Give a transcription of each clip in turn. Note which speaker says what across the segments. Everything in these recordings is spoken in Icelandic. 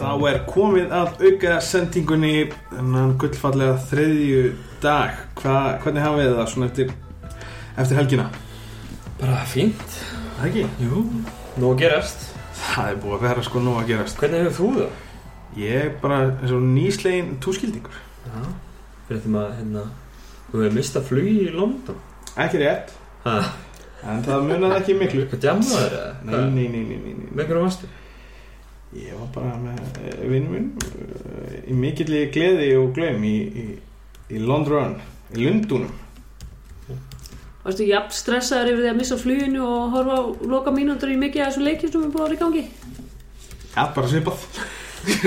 Speaker 1: Þá er komið að auka sendingunni þennan gullfallega þriðju dag Hva, Hvernig hafið þið það svona eftir, eftir helgina?
Speaker 2: Bara fínt
Speaker 1: Það ekki?
Speaker 2: Jú Nú að gerast
Speaker 1: Það er búið að vera sko nóg að gerast
Speaker 2: Hvernig hefur þú það?
Speaker 1: Ég bara eins og nýslegin túskildingur
Speaker 2: Já Fyrir því maður hérna Þú hefur mistað flugi í London
Speaker 1: Ekki rétt
Speaker 2: Ha?
Speaker 1: En það munaði ekki miklu
Speaker 2: Hvað djamaður það?
Speaker 1: Nei, nei, nei, nei, nei, nei.
Speaker 2: Með hverju varstu?
Speaker 1: Ég var bara með vinnum minn eh, í mikilli gleði og glem í, í, í London, í Lundunum
Speaker 3: Varstu jafn stressaður yfir því að missa fluginu og horfa á loka mínútur í mikið af þessu leikir sem er búið að vera í gangi?
Speaker 1: Já, bara svipað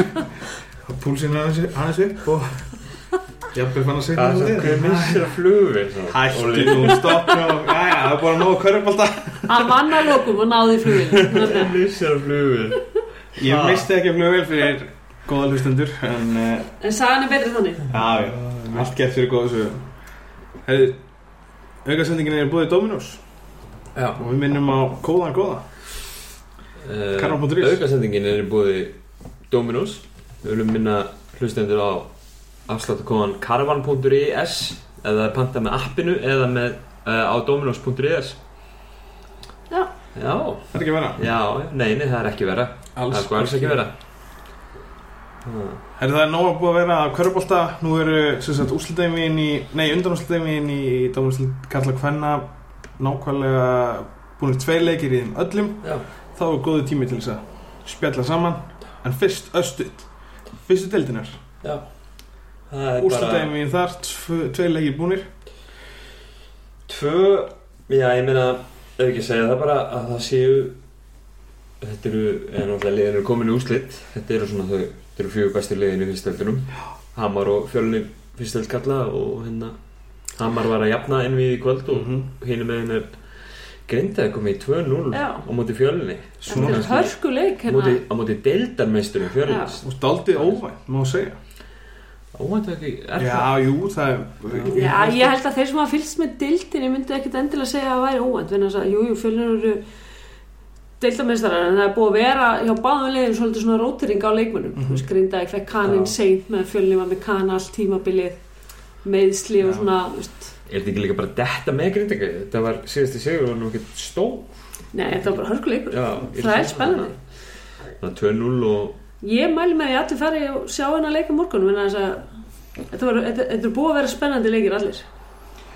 Speaker 1: Púlsinn aðeins aðeins upp og jafnveg fann að segja
Speaker 2: Það er hverju mistað flugi
Speaker 1: Hætti nú, stopp nú Jæja, það er bara nóg körfbalta
Speaker 3: Hann vann að lokum og náði fluginu.
Speaker 2: Hvernig mistað flugi?
Speaker 1: Ég
Speaker 2: Ha.
Speaker 1: misti ekki að fljóða vel fyrir góða hlustendur En, eh,
Speaker 3: En sagan er betri þannig.
Speaker 1: já, já, allt gert fyrir góða sögum Hefði, aukasendingin er búið í Dominos
Speaker 2: Já
Speaker 1: Og við minnum á kóðan góða
Speaker 2: Eh,
Speaker 1: Karol.is.
Speaker 2: Aukasendingin er í búði Dominus Við viljum minna hlustendur á afsláttakóðan caravan.is eða panta með appinu eða með, uh, á dominus.is
Speaker 3: Já.
Speaker 2: Já,
Speaker 1: Það er ekki að vera
Speaker 2: já, nei, nei, það er ekki vera Það er sko alls ekki vera Ha,
Speaker 1: Herri, það er nóg að búið að vera að körfbólta Nú eru sem sagt úrslutdæmiðin í Nei, undanúrslutdæmiðin í Dómarsl Karla Kvenna Nákvæmlega búinir tvei leikir í þeim öllum
Speaker 2: Já,
Speaker 1: Þá er góðu tími til þess að spjalla saman En fyrst östuð Fyrstu deildinar
Speaker 2: já Það er bara
Speaker 1: Úrslutdæmiðin þar, tv- tvei leikir búinir
Speaker 2: tvö Já, ég meina, ef ekki að segja það bara að það séu Þetta eru, en náttúrulega liðin eru komin í úrslit Þetta eru svona þau, þetta eru fjögur bestu liðin í fyrstöldunum Hamar og fjölunni fyrstöld kalla og hérna Hamar var að jafna inn við í kvöld og
Speaker 1: Mhm.
Speaker 2: hinu megin er Grindaði komið í 2-0
Speaker 3: Já.
Speaker 2: á móti fjölunni
Speaker 3: Þetta er hörku leik
Speaker 2: Á móti,
Speaker 3: hérna.
Speaker 2: á móti deildarmeisturum fjölunns
Speaker 1: Og daldið óvænt, má segja
Speaker 2: Óvænt ekki, er það?
Speaker 1: Já, jú, það er
Speaker 3: Já, ég held að þeir sem hafa fylgst með deildinni myndu ekkit endilega segja að það væri óvænt. Þannig að, það- jú, jú, fjölunir eru deildameistarar en það er búið að vera hjá báðum leiðum svolítið svona rótering á leikmönnum. Þú veist, Grindavík fekk kaninn
Speaker 2: Mhm. Já.
Speaker 3: seint meðan fjölunir var með kan allt tímabilið, meiðsli og
Speaker 1: Já.
Speaker 3: svona, þú veist,
Speaker 2: Er þetta ekki líka bara detta með grindingu? Þetta var síðasti sigur og nú ekki stó
Speaker 3: Nei, þetta var bara hörkuleikur.
Speaker 2: Já, ég
Speaker 3: það
Speaker 2: er
Speaker 3: er spennandi.
Speaker 2: Það er 2-0 og
Speaker 3: Ég mæli með því að allir fari og sjá hennar leika morgunum en þess að þetta var- þetta þetta er búið að vera spennandi leikir allir.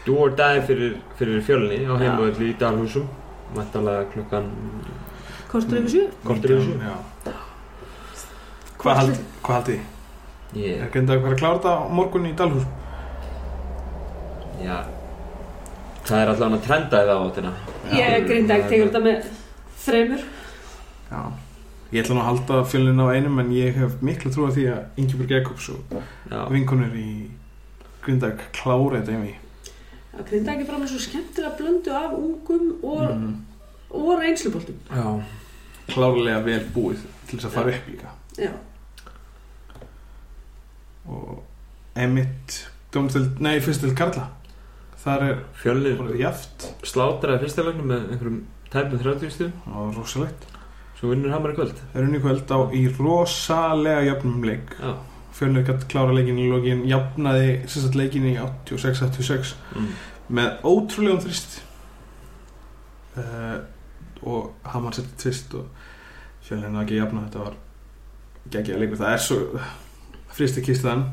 Speaker 2: do or die fyrir, fyrir fjölni á
Speaker 3: Já.
Speaker 2: heimavöldi í Dalhúsum Mættalega klukkan
Speaker 3: Kortur yfir sjö.
Speaker 2: kortur yfir sjö.
Speaker 1: Já. Hvað haldið? Hvað haldið?
Speaker 2: Ég,
Speaker 1: Er grindaði að klára þetta á morgun í Dalhús?
Speaker 2: já Það er allavega að trenda í það áttina
Speaker 3: Ég grinda ekki tegur þetta með þremur.
Speaker 1: Já. Ég ætla nú að halda fjölinn á einum en ég hef miklu trú að því að Ingeborg Jakobs og
Speaker 2: Já,
Speaker 1: vinkonur í Grindag klára þetta einmi.
Speaker 3: Að grinda ekki fram með svo skemmtilega blöndu af ungum og,
Speaker 1: Mm.
Speaker 3: og reynsluboltum.
Speaker 2: já.
Speaker 1: Klárlega vel búið til þess að fara upp líka.
Speaker 3: Já.
Speaker 1: Og emitt dómstöld, nei, fyrstöld Karla. Þar er
Speaker 2: Fjölnir
Speaker 1: bara jaft
Speaker 2: slátraði fyrsta leiknum með einhverjum tæpum 30 stíðum
Speaker 1: og rosalegt.
Speaker 2: Svo vinnur Hamar í kvöld
Speaker 1: Það er unni kvöld á í rosalega jafnum leik.
Speaker 2: Já,
Speaker 1: Fjölnir gætt klára leikin í lokin, jafnaði sérstætt leikin í 86-86.
Speaker 2: mm.
Speaker 1: með ótrúlegum þrist uh, og Hamar setti tvist og fjölinn að ekki jafna þetta var geggja leikur, það er svo fristi kistan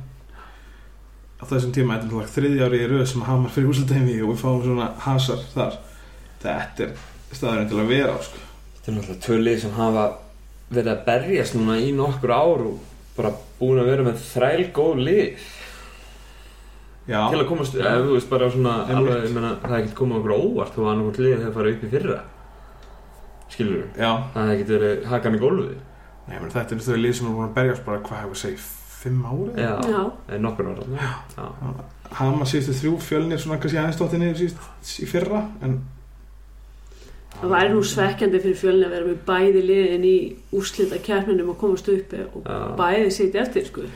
Speaker 1: á þessum tíma, þetta er náttúrulega þriðja ári í röð sem Hamar fyrir úrsluteimi og við fáum svona hasar þar þetta er staðurinn til að vera á sko.
Speaker 2: Þetta er náttúrulega tvö lið sem hafa verið að berjast núna í nokkur ár og bara búin að vera með þræl góð lið
Speaker 1: já,
Speaker 2: til að komast, ef þú veist bara svona
Speaker 1: Einmitt.
Speaker 2: alveg, ég meina, það er ekkert komað okkur á óvart þó að annarkvort liðið hefur farið upp í fyrra skilur við,
Speaker 1: já,
Speaker 2: það hefur ekkert verið hakan í gólfið
Speaker 1: Nei, menn, þetta er þau lið sem er búin að berjast bara hvað hefur segið, fimm árið
Speaker 2: já,
Speaker 3: Já.
Speaker 2: en nokkur ára já,
Speaker 1: Hamar síðustu þrjú, fjölnir svona kannski aðeins dóttinni síðust í fyrra en
Speaker 3: Það væri nú svekkjandi fyrir fjölni að vera með bæði liðin í úrslita kjarninum og komast upp og
Speaker 2: Já.
Speaker 3: bæði sitja eftir sko.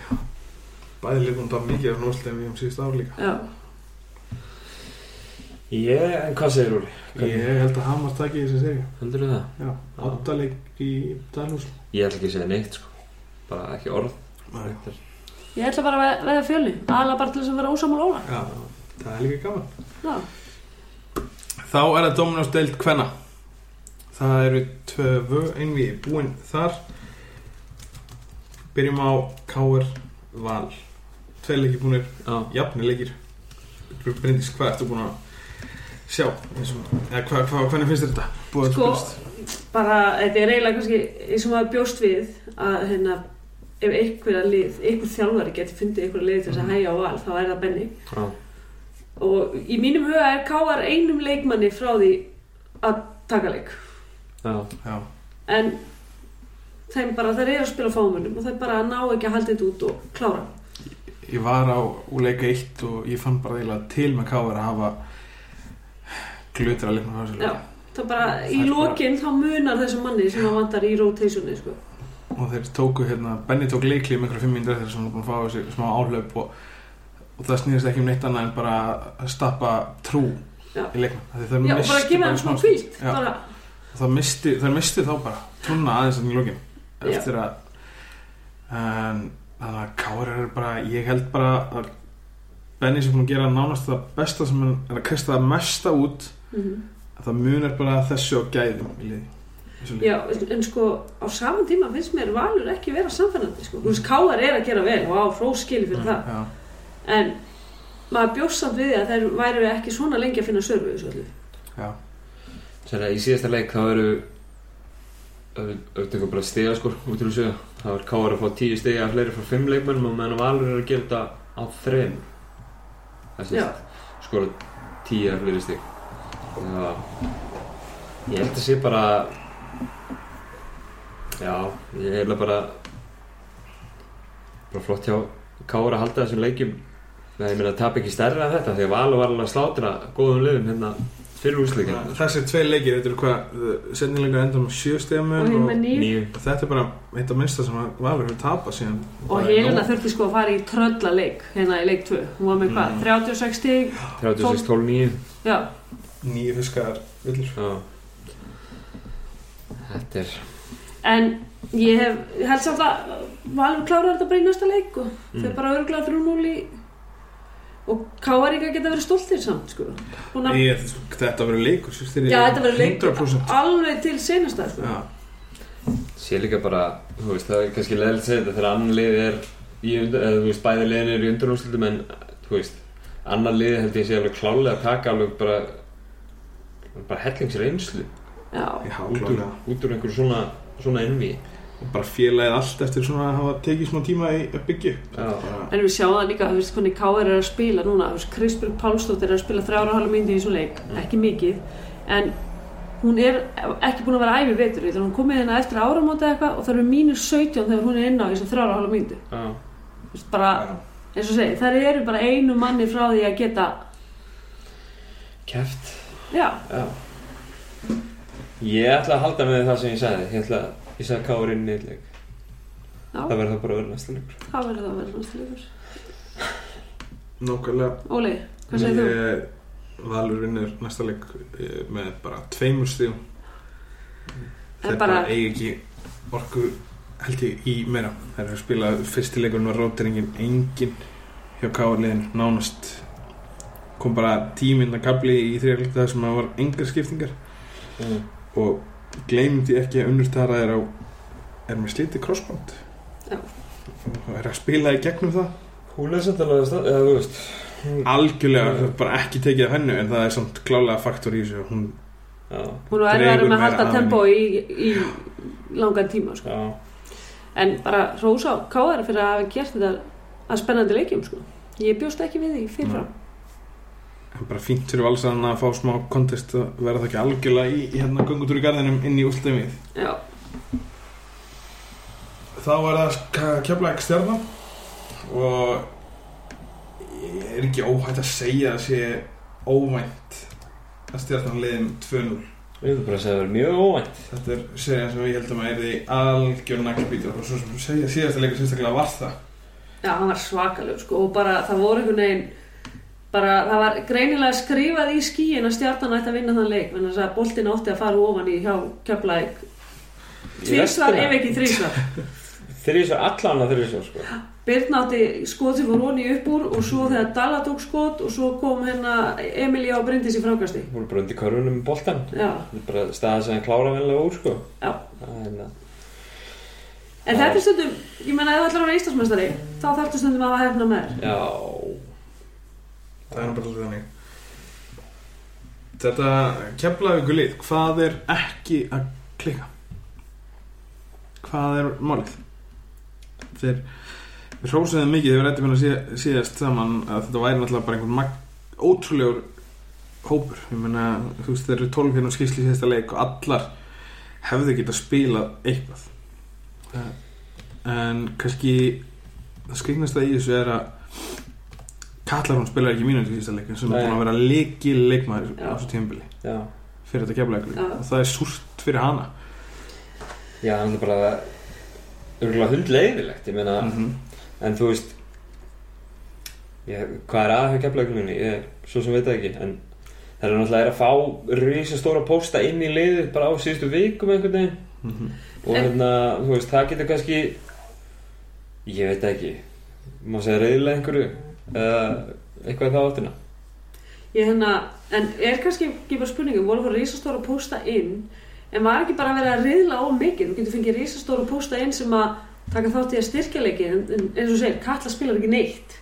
Speaker 1: Bæði lið búin að tapa mikið af núrslegum í um síðust ár líka.
Speaker 3: Já.
Speaker 2: ég, en hvað segir Úli?
Speaker 1: Ég held að Hamar taki þessi seri.
Speaker 2: heldur þú það?
Speaker 1: Já, átta leik í Danúsl.
Speaker 2: ég ætla ekki að segja neitt sko bara ekki orð
Speaker 1: Nei.
Speaker 2: Þetta er-
Speaker 3: Ég ætla bara að veða fjölu, aðalega bara til þess að vera ósamál óla.
Speaker 1: Já, það er líka gaman
Speaker 3: Já,
Speaker 1: Þá er það Dominos deild hvenna Það eru tvö einvið búin þar Byrjum á Káur Val Tveir leikir búinir,
Speaker 2: Já,
Speaker 1: jafnir leikir Bryndis, hvað ertu búin að sjá? Eins og- Eða, hva, hva, hvernig finnst þér þetta? Búið að
Speaker 3: Sko-
Speaker 1: spilast
Speaker 3: bara, þetta er eiginlega kannski eins og maður bjóst við að hérna, ef einhverja lið, einhver þjálfari geti fundið einhverja lið til
Speaker 1: Mhm.
Speaker 3: þess að hæja á val, þá er það Benny.
Speaker 2: já,
Speaker 3: Og í mínum huga er Káar einum leikmanni frá því að taka leik.
Speaker 2: já,
Speaker 1: Já,
Speaker 3: En þeim bara, þeir eru að spila fámunum og þeir bara ná ekki að halda þetta út og klára.
Speaker 1: ég var á úr leika eitt og ég fann bara eiginlega til með Káur að hafa glutra leiknum á þessu leik.
Speaker 3: Já. Það bara,
Speaker 1: Það
Speaker 3: í
Speaker 1: er bara-
Speaker 3: lokinn þá munar þessum manni sem það vantar í rotationi, sko.
Speaker 1: og þeir tóku hérna, Benny tók leikli um einhverja fimm mínútur eftir sem hann var búin að fá þessi smá áhlaup og, og það snýðist ekki um neitt annað en bara að stappa trú
Speaker 3: Já.
Speaker 1: í leikmann Af því þær
Speaker 3: Já, og
Speaker 1: misstu
Speaker 3: bara gefa þeim smá
Speaker 1: smá-
Speaker 3: kvíld,
Speaker 1: Já.
Speaker 3: bara,
Speaker 1: og það misti, þær misti þá bara trúna aðeins þannig í lokin
Speaker 3: Já.
Speaker 1: eftir að en, þannig að Káur er bara ég held bara að Benny sem búin að gera nánast það besta sem hann er að kasta það mesta út
Speaker 3: mm
Speaker 1: að það munar bara þessu og gæðum í liði Þessu liði.
Speaker 3: Já, en sko á saman tíma finnst mér Valur ekki vera samfennandi sko. Þú veist, Káar er að gera vel og á fróskili fyrir það
Speaker 1: Já.
Speaker 3: en maður bjóst samt við því að þær væri ekki svona lengi að finna sörfu í þessu öllu
Speaker 1: Já.
Speaker 2: Sér að í síðasta leik þá eru auðvitað bara stiga sko út til þessu það er Káar að fá tíu stiga að fleiri frá fimm leikmennum og meðan Valur er að gera þetta á þreim
Speaker 3: Já.
Speaker 2: skora tíu að fleiri stig já ég held að sé bara já ég held að bara bara flott hjá Káar að halda þessum leikjum Nei, ég meina að tapa ekki stærra af þetta því að Valur var alveg að slátra góðum liðum hérna fyrir úrsleikin
Speaker 1: Þessi tvei leikir, þetta eru hvað setnilegur endur með sjö
Speaker 3: og
Speaker 1: stegamun
Speaker 3: hinn með nýr
Speaker 2: nýju
Speaker 1: Þetta er bara eitt af minnsta sem að Valur hefur tapað síðan
Speaker 3: og Helena þurfti sko að fara í trölla leik hérna í leik 2, hún var með hvað,
Speaker 1: Mm.
Speaker 3: 36 stig
Speaker 2: 36, 12, 9
Speaker 3: já,
Speaker 1: Nýju fiskar villur
Speaker 2: Já Þetta er
Speaker 3: en ég hef, ég held samt að Valur klárar þetta bara í næsta leik og mm. þau bara örgulega 3-0 í og Káar ekki að geta verið stoltir samt sko, hún að
Speaker 1: Ég, Þetta verður leikur sést þér, ég-
Speaker 3: Já, þetta verður leikur
Speaker 1: 100%
Speaker 3: alveg til senasta sko.
Speaker 1: Já,
Speaker 2: Sér líka bara, þú veist, það er kannski leðilegt að segja þetta þegar annar lið er í undan, eða þú veist, bæði liðin er í undanúrslutum en, þú veist, annar lið held ég sé alveg klálega að taka alveg bara bara hellingsir einslu
Speaker 3: Já.
Speaker 1: ég hafa
Speaker 2: út úr,
Speaker 1: klálega
Speaker 2: út úr einhver svona, svona innví
Speaker 1: Og bara félagið allt eftir svona að hafa tekið smá tíma í að byggja upp.
Speaker 2: Já.
Speaker 1: Bara-
Speaker 3: En við sjáum það líka, þú veist, hvernig K.R. er að spila núna, þú veist, Krispil Pálsdóttir er að spila þrjára og halva myndi í þessum leik, ekki mikið, en hún er ekki búin að vera æfi vetur, þannig að hún komið hérna eftir áramóta eða eitthvað og það eru mínus 17 þegar hún er inn á þessum þrjára og halva myndi.
Speaker 2: Já,
Speaker 3: Þú veist, bara,
Speaker 1: Já.
Speaker 3: eins og segi, þær eru bara einu manni frá því að geta,
Speaker 2: keft
Speaker 3: já,
Speaker 2: Já Ég ætla að halda með það sem ég sagði Ég ætla ég sagði Káur inn í eitt leik
Speaker 3: já,
Speaker 2: Það verður það bara að vera næsta leikur
Speaker 3: það verður það að vera næstu leikur.
Speaker 1: Nákvæmlega
Speaker 3: Óli, hvað segir þú?
Speaker 1: Ég- Valur vinnur næsta leik eh, með bara tveimur stíðum
Speaker 3: En
Speaker 1: Þeir bara
Speaker 3: bara-
Speaker 1: eigi ekki orku held ég í meira Þeir eru að spila fyrstileikurinn var rótiringin engin hjá káliðin nánast kom bara tíminn að kabli í þrjarleik það sem að var engar skiptingar
Speaker 2: mm.
Speaker 1: og gleymum því ekki að unnurtara er á er með slítið crossband
Speaker 3: Já.
Speaker 1: og er að spila í gegnum það
Speaker 2: Hún er samt alveg að stað, eða þú veist Hún-
Speaker 1: algjörlega
Speaker 2: Mm.
Speaker 1: það er bara ekki tekið af hennu en það er samt klálega faktor í þessu hún,
Speaker 2: Já,
Speaker 3: Hún var
Speaker 1: dregur
Speaker 3: erfæri með að
Speaker 1: meira
Speaker 3: halda
Speaker 1: að
Speaker 3: tempó í, í langan tíma, sko.
Speaker 2: já
Speaker 3: En bara rósa á K.R. fyrir að hafa gert þetta að spennandi leikjum, sko. Ég bjóst ekki við því fyrirfram.
Speaker 1: en bara fínt fyrir valsann að fá smá kontest og vera það ekki algjörlega í, í hérna göngutur í garðinum inn í úrslutumið
Speaker 3: Já,
Speaker 1: þá var það keflaðið stjarnan og ég er ekki óhætt að segja að sé óvænt að stjarnan leiðin 2-0
Speaker 2: Ég vil bara segja að það er mjög óvænt
Speaker 1: þetta er segja sem ég heldum að er því algjör naglbítur og svo sem segja síðasta leikur sérstaklega var það
Speaker 3: já, hann var svakaleg, sko. Og bara það voru einhvern veginn, bara það var greinilega skrifað í skíin að stjartan ætti að vinna þann leik. Þannig að boltin átti að fara ofan í hjá keflaðið tvísvar ef ekki þrísvar.
Speaker 2: þrísvar, allan að þrísvar sko.
Speaker 3: Byrn átti skot sem fór honi upp úr og svo þegar Dala tók skot og svo kom hérna Emilía og Bryndis í frákasti.
Speaker 2: Hún er bara undir körfunum með boltan.
Speaker 3: Já,
Speaker 2: Þetta er bara staða sem hann klára venlega úr sko.
Speaker 3: já.
Speaker 2: Það er hérna.
Speaker 3: En þetta er stundum, ég meina ef þú ætlar að vera ístasmestari, þá þarftu stundum að hafa hefna með þér.
Speaker 2: Já.
Speaker 1: Það er nú bara svolítið þannig. Þetta keflavíku lið, hvað er ekki að klika? Hvað er málið? Þeir, við hrósuðum mikið þegar við rættum hérna síð- síðast saman að þetta væri náttúrulega bara einhvern mag, ótrúlegur hópur. Ég meina, þú veist, þeir eru 12 hérna á skýrslu í sérsta leik og allar hefðu getað spilað eitthvað. Eh, En kannski það skriknasta í þessu er að Kallar hún spilaði ekki mínúti í fyrsta leikin sem
Speaker 2: Nei.
Speaker 1: er búin að vera leiki leikmaður
Speaker 3: Já.
Speaker 1: á þessu tímbili
Speaker 2: Já.
Speaker 1: fyrir þetta keflaðikli
Speaker 3: Já.
Speaker 1: og það er súrt fyrir hana
Speaker 2: Já, hann er bara örgulega hundleiðilegt, ég meina,
Speaker 1: -hmm.
Speaker 2: en þú veist, ég, hvað er aðhau keflauglunni, ég svo sem veit það ekki, en það er náttúrulega er að fá risastóra pósta inn í liðið bara á síðustu vikum einhvern veginn
Speaker 1: Mm -hmm.
Speaker 2: og
Speaker 3: En-
Speaker 2: hérna, þú veist, það getur kannski, ég veit það ekki, má segja reyðilega einhverju, uh, eitthvað í það áttina.
Speaker 3: Ég hérna, en er kannski ekki bara spurningum, voru fyrir rísastóra pósta inn, en var ekki bara að vera að riðla of mikið, þú getur fengið rísastóra pósta inn sem að taka þátt í að styrkja leikið, en, en eins og þú segir, Katla spilar ekki neitt.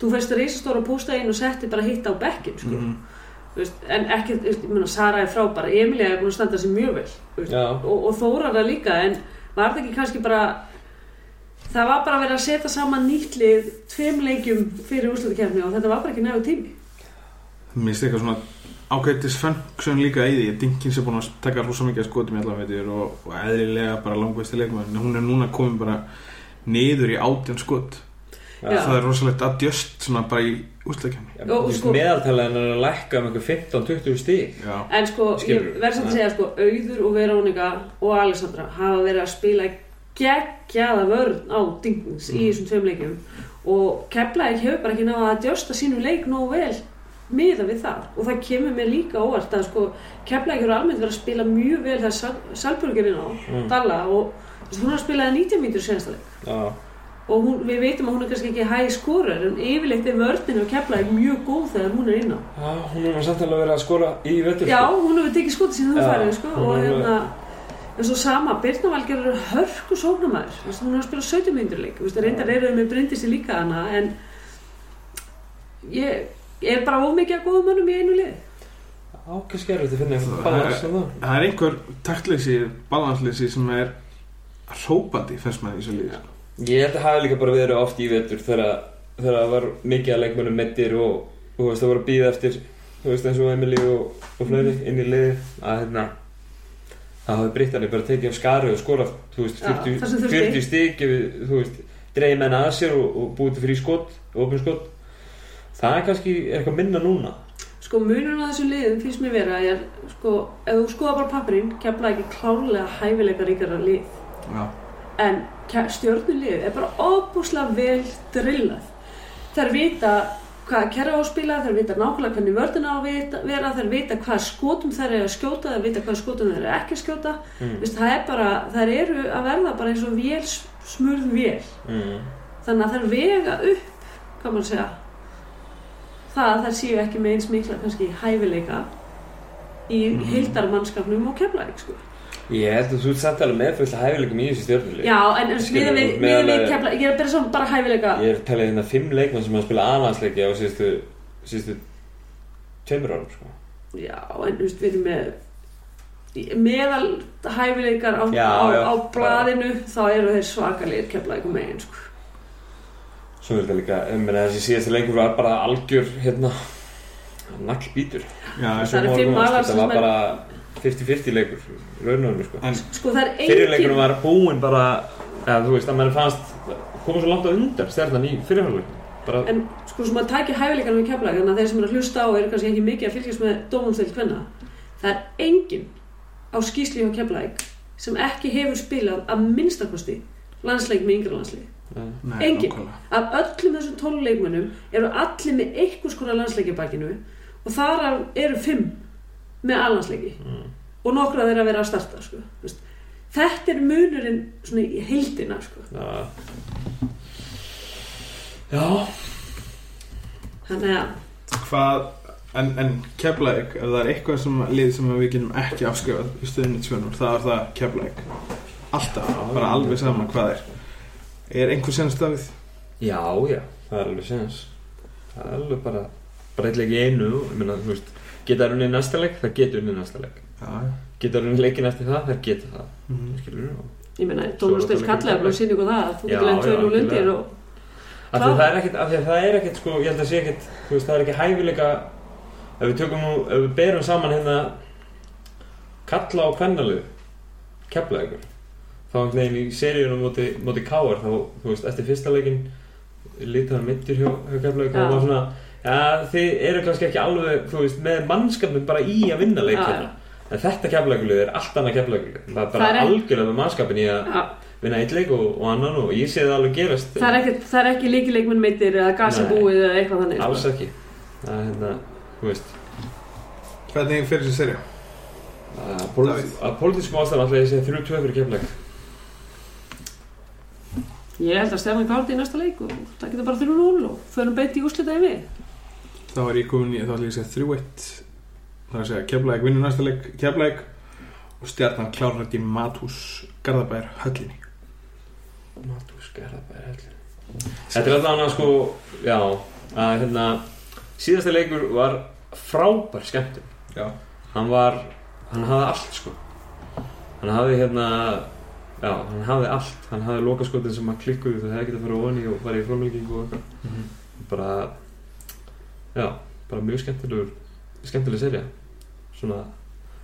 Speaker 3: Þú fæst rísastóra pósta inn og setti bara hitt á bekkinn, sko.
Speaker 1: Mhm.
Speaker 3: Mm. Veist, en ekki, þú veist, ég meina, Sara er frábæra, Emilia er búin að standa sig mjög vel, þú veist,
Speaker 2: Já.
Speaker 3: og, og Þórara líka, en var það ekki kannski bara, það var bara verið að setja saman nýtt lið tveim leikjum fyrir úrslutakefni og þetta var bara ekki nægur tími.
Speaker 1: Mér stið eitthvað svona ákveðtis function líka í því Dinkins er búin að taka rosa mikið að skotum í allaveitur og, og eðlilega bara langveisti leikmaður en hún er núna komin bara niður í átján skot
Speaker 3: Já.
Speaker 1: það er rosalegt adjöst svona bara í úrstakefni
Speaker 2: Já,
Speaker 3: Jó,
Speaker 2: þú veist,
Speaker 3: sko-
Speaker 2: meðaltalið er að lækka um einhver 15-20 stík.
Speaker 1: Já,
Speaker 3: En sko, ég
Speaker 2: Skilurðu?
Speaker 3: verð samt að
Speaker 2: Ja.
Speaker 3: segja sko, Auður og Verónika og Alessandra hafa verið að spila geggjaða vörn á dingins í þessum tveim leikjum og Keflæk hefur bara ekki náða að djósta sínum leik nógu vel miða við það og það kemur mér líka óvart að sko, Keflæk hefur almennt verið að spila mjög vel þegar Sal Salburgerinn á
Speaker 2: Mm.
Speaker 3: Dalla og þú veist, hún har spilaði 90 mínútur senasta leik
Speaker 2: Já.
Speaker 3: og hún, við veitum að hún er kannski ekki hæg skorur en yfirleitt er vörninu og Keflæk mjög góð þegar hún er inn á
Speaker 2: Já, hún er nú samt alveg verið að skora í sko. vettur.
Speaker 3: Já, hún hefur tekið skotið síðan þú
Speaker 2: Já,
Speaker 3: farið sko,
Speaker 2: hún
Speaker 3: og
Speaker 2: hefur-
Speaker 3: hérna en svo sama, Birna Valgerður er hörku sóknamaður, þú veist, hún er að spila 17 myndur leik, þú veist, reyndar eru þau með Bryndisi líka hana, en ég er bara of mikið að góða mönnum í einu lið
Speaker 2: Já, kannski er þetta að finna eitthvað
Speaker 1: Það er-
Speaker 2: balans hérna. sem það.
Speaker 1: það er einhver taktleysi, balansleysi sem er hrópandi fyrst maður í þessu lífi
Speaker 2: Ég held að hafa líka bara verið oft í vettur þegar þegar það var mikið að leikmönnum mittir og þú veist það voru að býða eftir þú veist eins og Emily og, og fleiri
Speaker 3: Mhm.
Speaker 2: inn í liði að hérna það hafi Britanni bara tekið af skari og skora þú veist
Speaker 3: Já,
Speaker 2: 40,
Speaker 3: það sem þurfti.
Speaker 2: 40 stík þú veist dreigir menna að sér og, og búið til frí skot, opin skot það er kannski eitthvað minna núna
Speaker 3: Sko munurinn á þessum liðum finnst mér vera að ég er, sko, ef þú skoða bara pappirinn, kemla ekki klárlega hæfileika ríkara lið
Speaker 1: sko. Já,
Speaker 3: en ke- stjörnulið er bara óbúslega vel drillað þær vita hvað kerra á að spila þær vita nákvæmlega hvernig vörðina á að vita- vera þær vita hvað skotum þær eru að skjóta þær vita hvað skotum þær eru ekki að skjóta
Speaker 2: Mm.
Speaker 3: Vist, það er bara, þær eru að verða bara eins og vél, smurð vél
Speaker 2: mm.
Speaker 3: þannig að þær vega upp hvað maður segja það að þær séu ekki með eins mikla kannski hæfileika í mm. hildarmannskapnum og kemlaðik sko.
Speaker 2: ég held að þú ert samt alveg með fullt af hæfileikum í þessu stjórnuleik
Speaker 3: já en miðan við, miðað við kemlaðik ég er að bera saman bara hæfileika
Speaker 2: Ég er talið hérna fimm leikmenn sem hafa spilað aðlandsleiki á síðustu, síðustu tveimur árum sko.
Speaker 3: Já, en þú veist, við erum með meðal hæfileikar á,
Speaker 2: Já,
Speaker 3: á,
Speaker 2: já.
Speaker 3: á blaðinu þá eru þeir svakalegir keflaðið um megin sko.
Speaker 2: Svo er þetta líka, ég meina þessi síðustu leikur var bara algjör hérna naglbítur.
Speaker 1: já
Speaker 3: Það eru fimm aðlandsleikmenn.
Speaker 2: Það var bara 50-50 leikur raunarunum sko.
Speaker 1: en
Speaker 3: sko það er
Speaker 2: Fyrir
Speaker 3: engin
Speaker 2: leikunum var búinn bara, eða þú veist, að mann fannst koma svo langt á undan stjarnan í fyrirhörleikunum. Bara,
Speaker 3: en sko sem að taki hæfileikarnum í keflaðið þannig að þeir sem eru að hlusta á eru kannski ekki mikið að fylgjast með dómumstöld hvenna það er engin á skýsli hjá keflaðið sem ekki hefur spilað að minnstakosti landsleik með yngri landsleik
Speaker 2: en,
Speaker 1: nei,
Speaker 3: Engin.
Speaker 1: nákvæmlega.
Speaker 3: af öllum þessum tóluleikmönnum eru allir með einhvers konar landsleikjabakinu og þar
Speaker 2: Mm.
Speaker 3: af eru fimm með allansleiki og nokkra þeirra að vera að starta sko. Þú veist, þetta er munurinn svona í heildina sko.
Speaker 2: Já. Já.
Speaker 3: þannig að
Speaker 1: Hvað, en, en Keflæk, ef það er eitthvað sem lið sem við getum ekki afskrifað í stöðinni tjónum, það er það Keflæk. Alltaf, bara alveg saman hvað er. Er einhver senast Davíð?
Speaker 2: Já, já, það er alveg séns Það er alveg bara breytleik í einu ég meina, þú veist, geta unnið næsta leik það geta unnið næsta leik
Speaker 1: Já, já.
Speaker 2: geta unnið leikin eftir það, það geta það
Speaker 1: Mhm.
Speaker 2: skilur við
Speaker 3: ég meina,
Speaker 2: Svo er
Speaker 3: Dónustel
Speaker 2: þetta
Speaker 3: kallega
Speaker 2: líka-
Speaker 3: bara sín ykkur það að þú
Speaker 2: Já,
Speaker 3: getur lengt
Speaker 2: já,
Speaker 3: tvöinu
Speaker 2: algjörlega.
Speaker 3: lundir og
Speaker 2: af því að það er ekkert, af því að það er ekkert sko, ég held að sé ekkert, þú veist, það er ekki hæfileika ef við tökum nú, ef við berum saman hérna kalla og kvennalið kepla ykkur þá einhvern veginn í seríunum móti, móti káar þá, þú veist, eftir fyrsta leikin lítaðar mittur hjá, hjá kepla ykkur og
Speaker 3: Já.
Speaker 2: það var svona, já, þið eru kannski ekki alveg, þú veist, með mannskapin bara í að vinna leik
Speaker 3: Já,
Speaker 2: hérna en þetta keflækulið er allt annað keflækulið það er bara
Speaker 3: Það er-
Speaker 2: algjörlega með mannskapin í að
Speaker 3: ja,
Speaker 2: vinna eitt leik og, og annan og ég sé það alveg gerast
Speaker 3: það er ekki, það er ekki líkileikmenn meitir eða gasi
Speaker 2: Nei.
Speaker 3: búið eða eitthvað þannig
Speaker 2: Alls
Speaker 3: sko.
Speaker 2: ekki Það er hérna, þú veist
Speaker 1: Hvernig fyrir þessi serið?
Speaker 2: að pólitísk- Að pólitískum ástæðan alltaf ég segi 3-2 fyrir keflæk
Speaker 3: ég held að Stefán Kárdi í næsta leik og það getur bara 3-0 og förum beint í úslita yfir
Speaker 1: Þá er ég komin í, þá ætlum ég að segja 3-1 Það er að segja Keflæk vinnur næsta leik Keflæk og stjarnan klárar þetta í Matús Garðabær höllinni
Speaker 2: Matús Garðabæri heldur Þetta er alltaf annað sko Já, að hérna Síðasta leikur var frábær skemmtum
Speaker 1: Já.
Speaker 2: Hann var, hann hafði allt sko Hann hafði hérna Já, hann hafði allt Hann hafði lokaskotin sem að klikkuðu Það hefði ekki að fara ofan í og fara í frámlengingu og eitthvað Bara Já, bara mjög skemmtilegur Skemmtileg serja Svona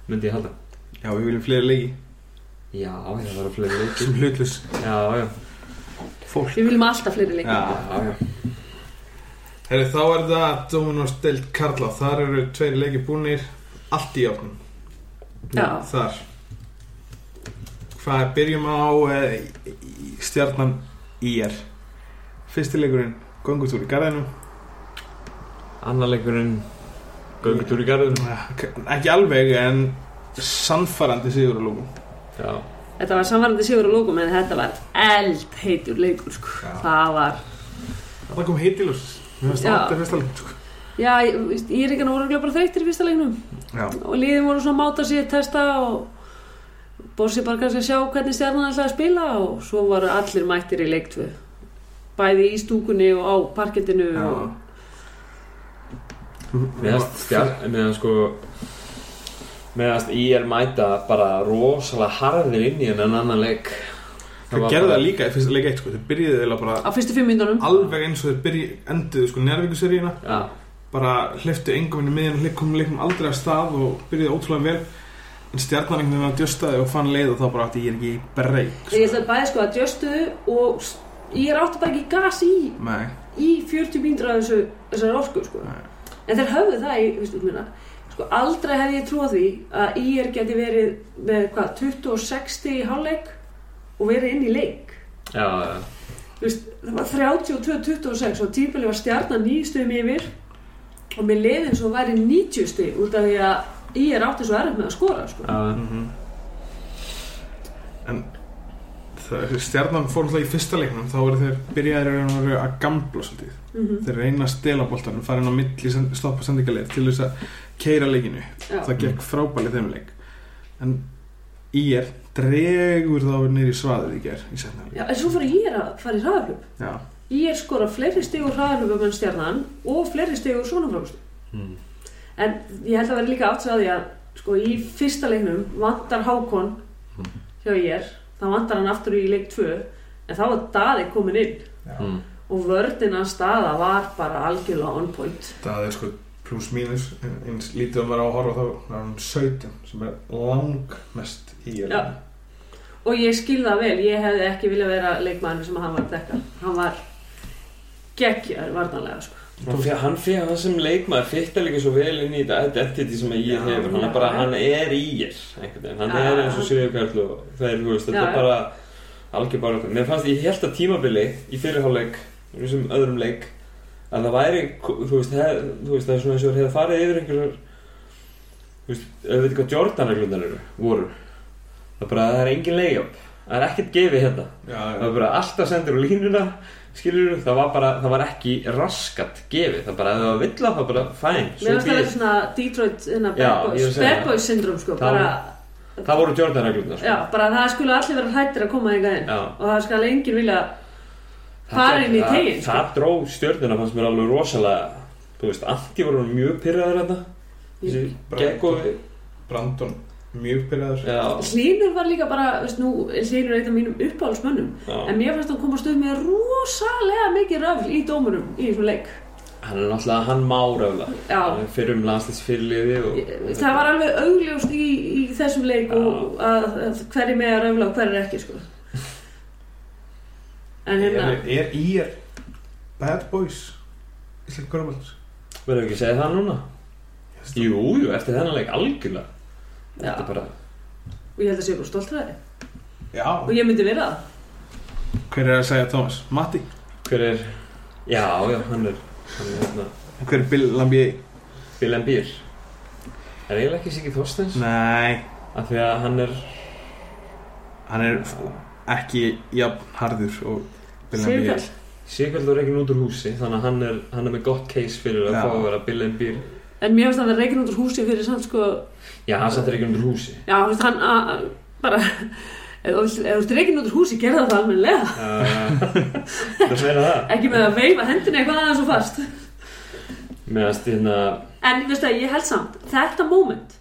Speaker 2: myndi ég halda
Speaker 1: Já, við viljum fleiri leiki
Speaker 2: Já, það var að fleiri leikir
Speaker 1: sem hlutlus
Speaker 2: Já, já,
Speaker 1: fólk
Speaker 3: við viljum alltaf fleiri leik
Speaker 1: Já.
Speaker 2: já, já.
Speaker 1: Herri, þá er það Dominos deild Karla Þar eru tveir leiki búnir Allt í játnum
Speaker 3: Já.
Speaker 1: Þar Hvað er, byrjum á eh, í- í- stjarnan IR Fyrsti leikurinn Göngutúr í garðinum
Speaker 2: Annar leikurinn Göngutúr í garðinu
Speaker 1: Ekki alveg en sannfarandi sigur að lókum
Speaker 2: Já,
Speaker 3: þetta var samvarandi sigur og lókum en þetta var eldheitur leikur sko.
Speaker 1: Já.
Speaker 3: það var
Speaker 1: Það kom heitilus Mér finnst
Speaker 3: Já.
Speaker 1: það alltaf fyrsta leik sko.
Speaker 3: já, ég, ég er ekki að voru bara þreytir í fyrsta leiknum
Speaker 1: Já,
Speaker 3: og liðin voru svona að máta sig að testa og Bossi bara kannski að sjá hvernig stjarnan ætlaði að spila og svo voru allir mættir í leiktvö bæði í stúkunni og á parkettinu
Speaker 1: Já.
Speaker 3: og
Speaker 2: meðast stjart meðan sko meðast ég er mæta bara rosalega harðir inn í en annan leik
Speaker 1: Þeir
Speaker 2: var
Speaker 1: gerðu
Speaker 2: bara-
Speaker 1: það líka í fyrsta leik eitt sko. Þeir byrjuðu eða bara
Speaker 3: á fyrstu fimm myndunum
Speaker 1: alveg eins og þeir byrju, enduðu sko nærvíkuseríuna
Speaker 2: Já,
Speaker 1: bara hliftu engum inn í miðjan og komum leikum aldrei af stað og byrjuðu ótrúlega vel en stjarnan einhvern veginn að djöstaði og fann leið og þá bara átti ég ekki í breyk
Speaker 3: ég ætlaði bæði sko að djöstu og s- ég er átti bara ekki gas í
Speaker 1: Nei,
Speaker 3: í 40 mínútur af þessu þessar orku sko
Speaker 1: Nei.
Speaker 3: en þeir höfðu það í, veistu, minna, sko, aldrei hef ég trúið því að IR geti verið með hvað, 26 stig í hálfleik og verið inn í leik
Speaker 2: já, já,
Speaker 3: Þú veist, það var 32-26 og tímpili var stjarnan 9 stigum yfir og mér leiði eins og væri 90 stig út af því að IR átti svo erfitt með að skora sko.
Speaker 2: já.
Speaker 1: en það, stjarnan fór alltaf í fyrsta leiknum þá voru þeir byrjaðir í raun og veru að gambla svolítið
Speaker 3: Mhm.
Speaker 1: þeir reyna að stela boltanum fara inn á milli send- stoppa sendingarleir til þess að keira leikinu
Speaker 3: Já.
Speaker 1: það gekk frábæli þeim leik en IR dregur þá nýri svaðið í ger í setna
Speaker 3: Já, en svo fyrir IR að fara í hraðaflöp
Speaker 1: já,
Speaker 3: IR skora fleiri stig úr hraðaflöpum en stjarnan og fleiri stig úr svona frákust
Speaker 2: Mm.
Speaker 3: En ég held að vera líka átt sig á því að sko, í fyrsta leiknum vantar Hákon
Speaker 2: Mhm.
Speaker 3: hjá ég það vantar hann aftur í leik 2 en þá var Daði komin inn
Speaker 2: Mm.
Speaker 3: og vördina staða var bara algjörlega on point
Speaker 1: það er sko pluss mínus en eins lítið um að vera á að horfa þá er hann 17 sem er langmest IR
Speaker 3: Já. og ég skil það vel, ég hefði ekki viljað vera leikmann sem hann var að dekka hann var geggjar varnanlega sko.
Speaker 2: Hann fer- Hann fyrir það sem leikmaður fyrta líka svo vel inn í þetta identity sem ég
Speaker 1: Já.
Speaker 2: hefur hann er bara, hann er í ég einhvern veginn, hann
Speaker 3: Já.
Speaker 2: er eins og Sigurður Karl og þeir, þú veist, þetta
Speaker 3: Já,
Speaker 2: er
Speaker 3: já.
Speaker 2: bara algjör bara, mér fannst, ég held að tímabili í fyrirháleik, í þessum öðrum leik að það væri, þú veist, hef, þú veist það er svona eins og þeir hefði farið yfir einhverjar þú veist, ef við veitum hvað Jordan reglundar eru, voru það er bara, það er engin layup það er ekkert gefið hérna
Speaker 1: Já, já,
Speaker 2: það var bara alltaf sendur úr línuna skilur það var bara, það var ekki raskat gefið, það bara, ef það var vilja það var bara fæn,
Speaker 3: Mér finnst það eitthvað svona Detroit innan
Speaker 2: Já,
Speaker 3: Bad
Speaker 2: ég er
Speaker 3: Boys,
Speaker 2: að segja
Speaker 3: Bad
Speaker 2: það.
Speaker 3: Boys syndrom sko,
Speaker 2: Það-
Speaker 3: bara,
Speaker 2: það voru Jordan-reglurnar
Speaker 3: já, bara það skulle allir vera hættir að koma þig inn
Speaker 2: Já.
Speaker 3: og það skal enginn vilja fara inn í
Speaker 2: Það-
Speaker 3: tegin sko.
Speaker 2: það dró stjörnuna fannst mér alveg rosalega þú veist, Antti voru mjög pyrraður þetta þessi geggo
Speaker 1: Brandon mjög byrjaður
Speaker 2: já,
Speaker 3: Hlynur var líka bara, veist nú, Hlynur er eitt af mínum uppáhaldsmönnum
Speaker 2: já.
Speaker 3: en mér fannst hann komast upp með rosalega mikið röfl í dómurum í þessum leik
Speaker 2: hann er náttúrulega, hann má röfla
Speaker 3: Já.
Speaker 2: Hann er fyrir um landslýs fyrirliði og, og
Speaker 3: Það var alveg augljóst í, í þessum leik og að, að hver er með að röfla og hver er ekki sko. En hérna
Speaker 1: Er, er í er Bad Boys Íslensk Körbaldars
Speaker 2: verður ekki að segja það núna jú, jú, eftir þennan leik algjörlega
Speaker 3: Já.
Speaker 2: þetta er bara
Speaker 3: og ég held að sé bara stolt ræði
Speaker 1: Já,
Speaker 3: og ég myndi vera það
Speaker 1: hver er að segja Thomas? Matti
Speaker 2: hver er, já, já, hann er hann er hérna,
Speaker 1: Hver er Bill Lambier?
Speaker 2: Bill and Beer er eiginlega ekki Siggi Þorsteins
Speaker 1: Nei,
Speaker 2: af því að hann er
Speaker 1: hann er ekki jafn harður og Bill Lambier
Speaker 3: Sigurkarl.
Speaker 2: Sigurkvöld er ekki út úr húsi þannig að hann er, hann er með gott case fyrir að
Speaker 1: Já.
Speaker 2: fá að vera Bill and Beer
Speaker 3: En mér finnst hann að reikin út úr húsi fyrir samt sko
Speaker 2: já, hann satt er ekki út úr húsi
Speaker 3: Já, þú veist hann að að- bara Ef þú vilt- ef þú ert reikin út úr húsi, gerða það almennilega
Speaker 2: það meira Eh, það
Speaker 3: Ekki með að veifa hendinni eitthvað aðeins og fast
Speaker 2: með að stíðna
Speaker 3: En ég veist að ég held samt, þetta moment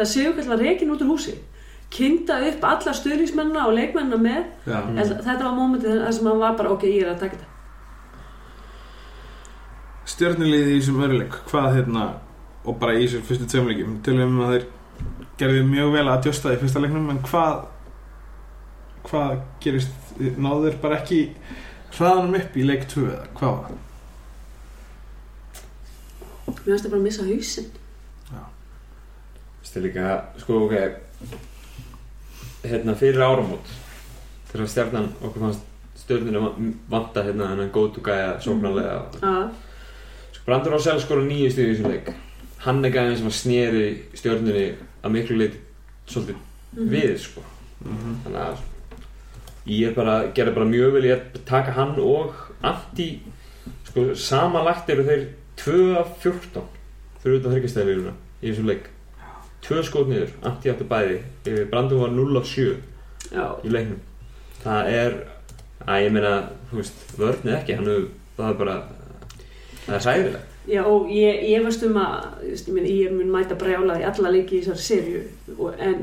Speaker 3: það séu kallar reikin út úr húsi kynnta upp alla stuðningsmennina og leikmennina með
Speaker 1: Já.
Speaker 3: mm. þetta var momentið þar sem hann var bara ok, ég er að taka þetta
Speaker 1: Stjörnuliði í þessum öruleik Hvað hérna Og bara í þessum fyrstu tveimleikum Tölum við um að þeir gerðu mjög vel að djósta í fyrsta leiknum En hvað Hvað gerist Náðu þeir bara ekki Hraðanum upp í leik 2 eða hvað var það?
Speaker 3: mér finnst það bara að missa hausinn
Speaker 2: stíð líka, sko, ok hérna fyrir áramót þegar stjarnan okkur fannst stjörnir að vanta hérna hennan go to guy að sóknarlega
Speaker 1: Mm.
Speaker 3: Ah,
Speaker 2: sko, Brandur Rosell skora nýju stíð í þessum leik hann er gæðin sem að sneri stjörnunni að miklu leit svolítið við, sko þannig að ég er bara, gerði bara mjög vel ég er að taka hann og Antti sko, samanlagt eru þeir 2 af 14 fyrir utan þryggastæðilíðuna í þessum leik 2 skot niður, Antti átti bæði Eh, Brandur var 0 af 7
Speaker 3: já,
Speaker 2: í leiknum það er, að ég meina þú veist, vörnið ekki, hann hefur það er bara, það er sæðilegt
Speaker 3: já, og ég, ég veist um að þú veist, ég, minn, ég mun mæta brjála í alla leiki í þessari serju og- en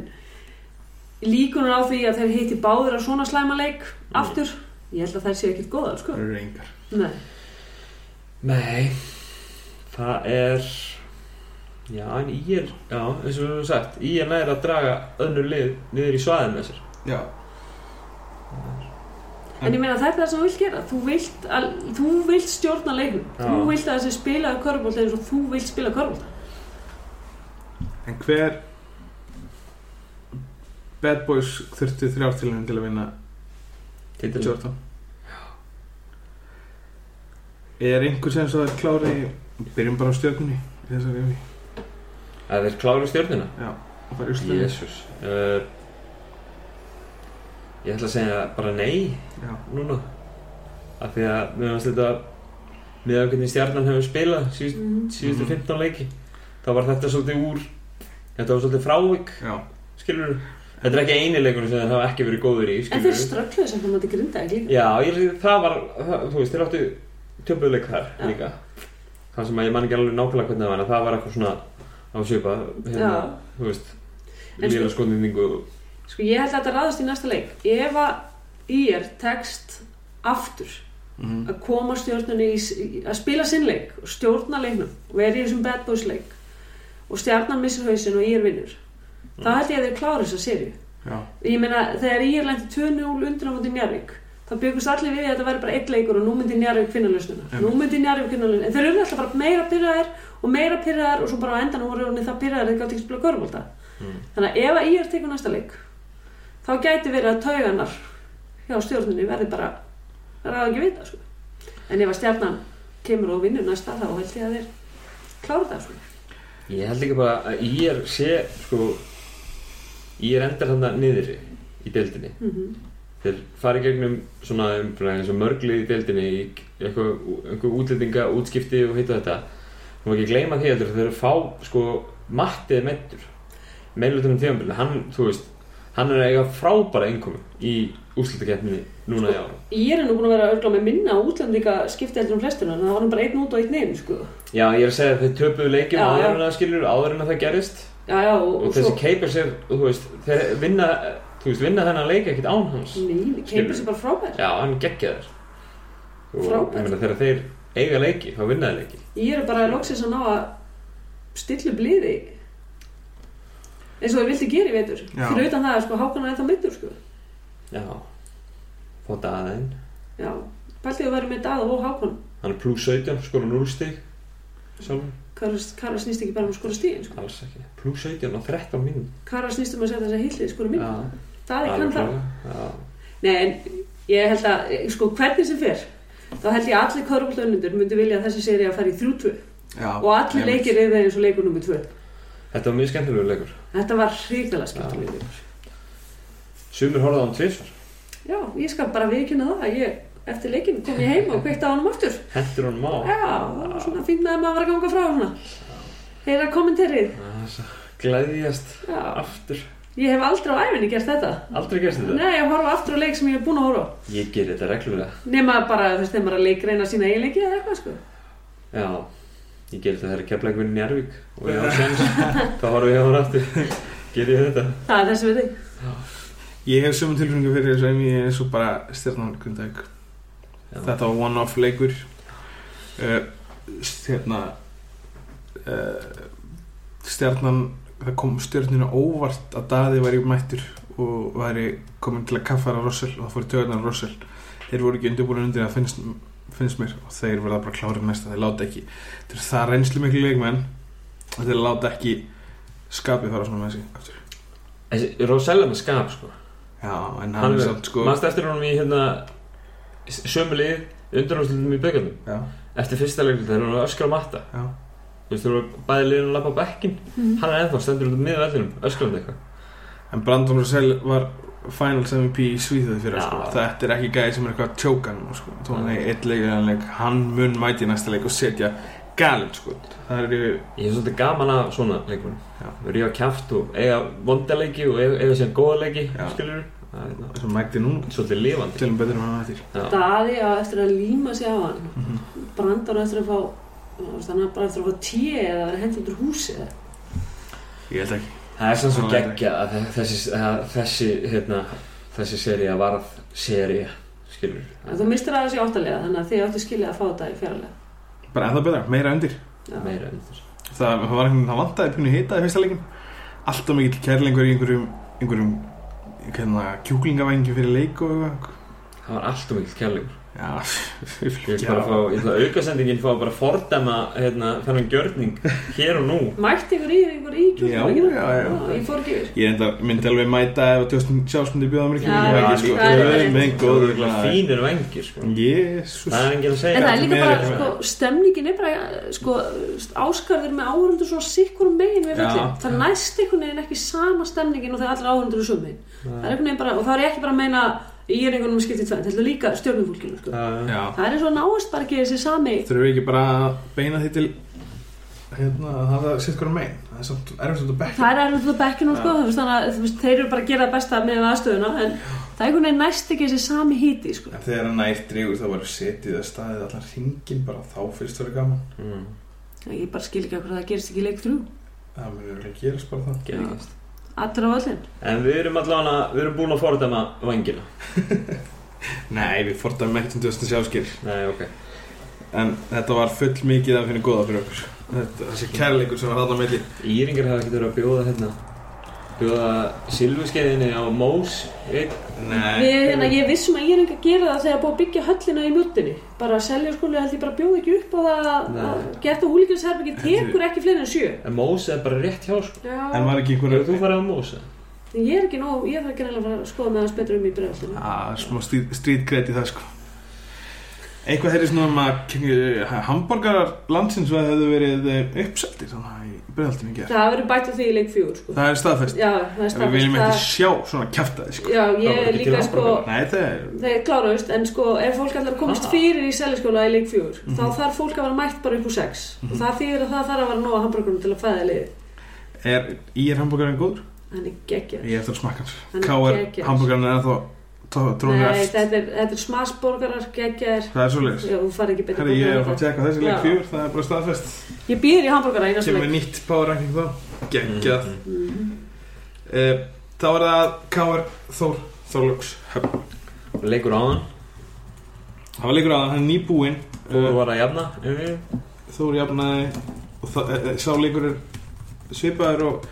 Speaker 3: líkunar á því að þeir heiti báður á svona slæma leik aftur, ég held að þær séu ekkert góðar sko.
Speaker 1: Það eru engar
Speaker 3: Nei.
Speaker 2: nei, það er já, en ég er já, eins og við höfum sagt, ég er næri að draga önnur lið niður í svaðið með sér
Speaker 1: Já,
Speaker 3: En ég meina það er það sem þú vilt gera Þú vilt, að, þú vilt stjórna leiknum Þú
Speaker 2: Já.
Speaker 3: vilt að þessi spila körfbólta eins og þú vilt spila körfbólta
Speaker 1: en hver Bad Boys þurfti þrjár tilhengi til að vinna
Speaker 2: Titil.
Speaker 1: 14 Er einhver sem svo er klári Byrjum bara á stjörnunni í Þessari við
Speaker 2: að þeir klára stjórnina
Speaker 1: og fara í úrslitin.
Speaker 2: jésus uh, ég ætla að segja bara nei
Speaker 1: Já,
Speaker 2: núna af því að mér fannst þetta með að hvernig stjarnan hefur spilað síðust
Speaker 3: mm.
Speaker 2: síðustu
Speaker 1: Mhm.
Speaker 2: 15 leiki þá var þetta svolítið úr þetta var svolítið frávik
Speaker 1: já
Speaker 2: skilur þetta er ekki eini leikur sem það hafa ekki verið góður í
Speaker 3: En þeir
Speaker 2: skilur
Speaker 3: ströggluðu sem það mátti grinda ekki líka
Speaker 2: já ég, það var það, þú veist þeir áttu töpuleik þar
Speaker 3: Já.
Speaker 2: líka það sem að ég man ekki alveg nákvæmlega hvernig það var en það var eitthvað svona á sjöpa hérna, þú veist
Speaker 3: En sko-
Speaker 2: lélega skotningu
Speaker 3: Sko ég held að þetta ráðast í næsta leik Ef að í er tekst aftur
Speaker 1: mm.
Speaker 3: að koma stjórnunni í, í- að spila sinn leik og stjórna leiknum og er í þessum bad boys leik og stjarnan missir hausinn og ég er vinnur þá held ég að þeir klára þessa serju
Speaker 1: Já,
Speaker 3: ég meina þegar ég er lent 2-0 undir á móti Njarvík þá byggust allir við því að þetta væri bara einn leikur og nú myndi Njarvík finna lausnuna
Speaker 1: Einmitt.
Speaker 3: nú myndi Njarvík finna lausnuna en þeir eru alltaf bara meira pyrraðir og meira pyrraðir og svo bara á endan voru orðinni það pyrraðir þeir gátt ekki að spila körfólta
Speaker 2: Mm.
Speaker 3: þannig að ef að ég er tekur næsta leik þá gæti verið að tauganar hjá stjórnunni verði bara ráða ekki vita sko. en ef að stjarnan kemur og vinnur næsta þá held ég að þeir klára það sko.
Speaker 2: ég held ekki bara að ég er sé sko ég er endar þannig niðri í deildinni
Speaker 3: mm -hmm.
Speaker 2: þeir fara í gegnum svona umfræði eins og mörglið í deildinni í eitthvað, eitthvað útlendinga, útskipti og heitu þetta þú má ekki gleyma því heldur þeir fá sko mattið meittur meðlutunum tíðanbyrðin, hann, þú veist hann er að eiga frábæra innkomi í úrslutakeppninni núna í ára
Speaker 3: Ég er nú búin að vera örgla með minna útlendinga skipti heldur um flestina en það var hann bara einn út og einn inn sko.
Speaker 2: já, ég er að segja að þeir töpuðu leikjum
Speaker 3: Já,
Speaker 2: áður
Speaker 3: já.
Speaker 2: en það skilur, áður en að það gerist
Speaker 3: Já, já, og,
Speaker 2: og þessi keipir sér, þú veist þeir vinna, þú veist, vinna þennan leik ekkert án hans
Speaker 3: Nei, keipur sér bara frábær
Speaker 2: já, hann geggja þér og
Speaker 3: Frábært.
Speaker 2: ég meina þegar þeir eiga leiki, þá vinna þeir leiki
Speaker 3: Ég er bara loksins að ná að stillu bliði eins og þeir vildi gera í vetur
Speaker 1: Já.
Speaker 3: fyrir utan það, sko, hákan er ennþá meittur sko.
Speaker 2: Já, fá daðinn
Speaker 3: Já, pæltið að vera með daða og hákan
Speaker 2: Hann er pluss 17, skora 0 stig Sjálfur,
Speaker 3: Kara, Kara snýst ekki bara um að skora stíðin sko.
Speaker 2: alls ekki Pluss 17 á 13 mínum
Speaker 3: Kara snýst um að setja þess að hillið skora minn
Speaker 2: Já,
Speaker 3: Daði
Speaker 2: alveg
Speaker 3: kann það
Speaker 2: klárlega. Já,
Speaker 3: Nei, en ég held að, sko, hvernig sem fer þá held ég að allir körfaldönundur myndi vilja að þessi seri að fara í 3-2
Speaker 1: Já,
Speaker 3: og allir
Speaker 1: einmitt.
Speaker 3: leikir eru eins og leikur nummer 2
Speaker 2: Þetta var mjög skemmtilegur leikur
Speaker 3: Þetta var hrikalega skemmtileg leikur
Speaker 2: Sumir horfði á hann tvisvar
Speaker 3: Já, ég skal bara viðkynna það að ég, eftir leikin kom ég heim og kveikti á honum aftur
Speaker 2: Hentur honum á
Speaker 3: Já, það var svona fínt með að maður var að ganga frá svona Heyra kommenterið
Speaker 2: Gleðjast
Speaker 3: Já,
Speaker 2: aftur
Speaker 3: ég hef aldrei á æfinni gert þetta
Speaker 2: Aldrei gerst þetta
Speaker 3: Nei, ég horfa aftur á leik sem ég er búin að horfa á.
Speaker 2: Ég ger þetta reglulega
Speaker 3: Nema bara, þú veist, þegar maður er að leik reyna sína eiginleiki eða eitthvað, sko
Speaker 2: Já, ég ger þetta þegar keflæk vinni Njárvík og ég á sjans Þá horfði ég á hann aftur Ger ég þetta
Speaker 3: Það er þessi við þig
Speaker 1: Ég hef sömu tilfengu fyrir þessu emi eins og bara stjarnan Grundavík
Speaker 2: Já.
Speaker 1: Þetta var one-off leikur uh, Hérna uh, Stjarnan Það kom stjörninu óvart að Daði væri mættur og væri komin til að kaffara Russell og það fór í töðunar Russell Þeir voru ekki undirbúin undir að finnst, finnst mér og þeir verða bara klárið mest að þeir láta ekki Þeir eru það reynslu miklu leikmenn og þeir láta ekki skapið fara svona með sig aftur.
Speaker 2: Þessi Rosella með skap sko
Speaker 1: Já, en hann,
Speaker 2: Hann
Speaker 1: er
Speaker 2: er-
Speaker 1: samt sko
Speaker 2: Manst eftir honum í hérna sömulið undanúslutum í byggjarnum
Speaker 1: Já,
Speaker 2: eftir fyrsta leiklið þegar hann var að öskra á matta
Speaker 1: já
Speaker 2: þú veist þú voru bæði liðin að lappa á bekkin hann er ennþá stendur út um miða vellinum öskrandi eitthvað
Speaker 1: En Brandon Russell var Finals MVP í Svíþjóð fyrir
Speaker 2: Já.
Speaker 1: sko. Þetta er ekki gæði sem er eitthvað að tjóka hann sko. Tóna í eitt leik, eða annan leik Hann mun mæti í næsta leik og setja galin sko. Það eru
Speaker 2: ég hef svolítið gaman af svona leikunum
Speaker 1: Já.
Speaker 2: ríða kæft og eiga vondaleiki og eiga, eiga síðan góða leiki
Speaker 1: Já.
Speaker 2: skilur við
Speaker 1: sem mæti núna
Speaker 2: hérna, svolítið lifandi
Speaker 1: Tölum betur um hann eftir
Speaker 2: Já.
Speaker 3: Daði á eftir að líma sig á hann
Speaker 2: Mhm.
Speaker 3: Brandur á eftir að fá þú veist, hann er bara eftir að fá tíu eða að vera hendur út úr húsi eða-
Speaker 1: Ég held ekki
Speaker 2: það er svona svo
Speaker 1: Já,
Speaker 2: geggja að þe- þessi að þessi hérna þessi seria varð seria skilur
Speaker 3: en þú mistir aðeins í áttalega þannig að þið áttu skilja að fá þetta í fjárlega
Speaker 1: Bara ennþá betra, meira undir
Speaker 3: Já.
Speaker 2: meira enn þess
Speaker 1: Það, það var einhvern það vantaði pínu hita í fyrsta leikin Alltaf mikill kærlingur í einhverjum einhverjum hérna, kjúklingavængi fyrir leik og eitthvað.
Speaker 2: það var allt og mikill kærleikur
Speaker 1: Já,
Speaker 2: Ég vil bara fá, ég ætla að aukasendingin fá að bara fordæma hérna, þennan gjörning hér og nú
Speaker 3: mætti ykkur í ykkur í kjúkvækina
Speaker 1: Já, já, já.
Speaker 3: ég fór ekki yfir
Speaker 1: Ég enda, myndi alveg mæta ef Justin Charles myndi bjóða mér ekki
Speaker 3: Já,
Speaker 1: Ég
Speaker 3: já,
Speaker 1: ekki, sko.
Speaker 3: það er rétt.
Speaker 1: Guð minn
Speaker 2: Það voru
Speaker 1: góður,
Speaker 2: örugglega
Speaker 1: maður.
Speaker 2: fínir vengir sko.
Speaker 1: Jésús
Speaker 2: Það er enginn að segja
Speaker 3: Mm. en það er
Speaker 1: þetta
Speaker 3: líka
Speaker 1: miður
Speaker 3: bara
Speaker 1: ekki
Speaker 3: sko, stemningin er bara sko, áskarðir með áhörundur svona sikkur megin við
Speaker 1: Já.
Speaker 3: völlin það næst einhvern veginn ekki sama stemningin og þegar allir áhörundur er sumin það er einhvern veginn bara og það er ég ekki bara að meina í einhvernum skiptið tvænt heldur líka stjórnumfólkinu sko.
Speaker 2: Já,
Speaker 1: Já,
Speaker 3: það er eins og náist bara ekki þessi sami
Speaker 1: þurfum við ekki bara að beina því til hérna, að hafa sitt hverju megin það er samt erfitt út að bekka
Speaker 3: Það er erfitt á bekkinu sko, þú veist, þannig að þú veist, þeir eru bara að gera það besta með aðstöðuna en það er einhvern veginn næst ekki þessi sami híti sko.
Speaker 1: en þegar hann nætt dreigur þá var setið að staðið allan hringin bara þá fyrst verið gaman
Speaker 2: mm,
Speaker 3: Ég bara skil ekki okkur að það gerist ekki í leik þrjú
Speaker 1: það mun verið að gerast bara það
Speaker 2: geðveikist.
Speaker 3: Allra á öllin
Speaker 2: En við erum allavega, við erum búin að fordæma vengina
Speaker 1: Nei, við fordæmum ekkert um Justin Sjáskir
Speaker 2: Nei, ok
Speaker 1: en þetta var full mikið af henni góða fyrir okkur þetta, þessi kærleikur sem var þarna á milli
Speaker 2: Íringar hafa ekkert verið að bjóða hérna Bjóða silfuskeiðinni á Mós einn.
Speaker 1: Nei,
Speaker 3: Við, hérna, Ég vissum að ég er ekki að gera það þegar búið að byggja höllina í mjötinni bara að selja skóli held ég bara bjóð ekki upp og það
Speaker 2: Nei.
Speaker 3: að geta húlíkinsherfingi tekur ekki fleiri en sjö
Speaker 2: En Mós er bara rétt hjá sko.
Speaker 1: en
Speaker 3: Já,
Speaker 1: var ekki
Speaker 2: Hefur þú
Speaker 1: einhverju
Speaker 2: farið á Mós? eða?
Speaker 3: ég er ekki nóg, ég þarf
Speaker 1: Ah,
Speaker 3: ekki reyna að fara að skoða með hans betur um í bregðaldinu
Speaker 1: að smá strítkret í það sko Eitthvað þeirri svona um að hambúrgarar landsins að hefðu verið uppseltir þannig að í breyðaldinu ekki.
Speaker 3: það verður bætt úr því í leik fjúr sko.
Speaker 1: Það er staðfest.
Speaker 3: já, það er
Speaker 1: En Við viljum ekki
Speaker 3: staðfest
Speaker 1: sjá svona kjaftaði sko.
Speaker 3: já,
Speaker 2: Það
Speaker 3: ég
Speaker 2: voru
Speaker 3: er
Speaker 2: ekki
Speaker 3: líka
Speaker 2: til
Speaker 3: sko
Speaker 2: hamborgara.
Speaker 1: Nei, það er...
Speaker 3: þeir kláraust, en sko ef fólk allar komast
Speaker 2: Ha?
Speaker 3: fyrir í seliskóla í leik
Speaker 1: Ah.
Speaker 3: fjúr
Speaker 1: Mhm.
Speaker 3: þá þarf fólk að vera mætt bara upp úr sex og það þýðir að það þarf að vera nóga hambúrgurum til að fæða liðið
Speaker 1: Er, í er hambúrgarinn góður?
Speaker 3: hann er geggjað
Speaker 1: Ég eftir að smaka hans.
Speaker 3: Hann er
Speaker 1: Ká er
Speaker 3: geggjaður.
Speaker 1: hambúrgarinn en þá tróðið
Speaker 3: Nei,
Speaker 1: eftir.
Speaker 3: þetta er, þetta er smarsborgarar, geggjaðir
Speaker 1: Það er svo leiðis.
Speaker 3: Já, þú fari ekki betur
Speaker 1: Herri, ég er að fara að tjekka þessi leik
Speaker 3: Já.
Speaker 1: fjúr, það er bara staðfest.
Speaker 3: Ég býðir í hambúrgara eina sem
Speaker 1: Kemur
Speaker 3: leik Mhm.
Speaker 1: nýtt power ranking þá. Geggjað.
Speaker 2: Mm,
Speaker 1: Eh, Þá er það K.R. Þór Þorlóks Höfn
Speaker 2: mm. Leikur á hann
Speaker 1: Það var leikur að hann er nýbúinn
Speaker 2: Þú
Speaker 1: Eh,
Speaker 2: var að jafna er við?
Speaker 1: Þór jafnaði og það, eh, eh, sá leikur er svipaður og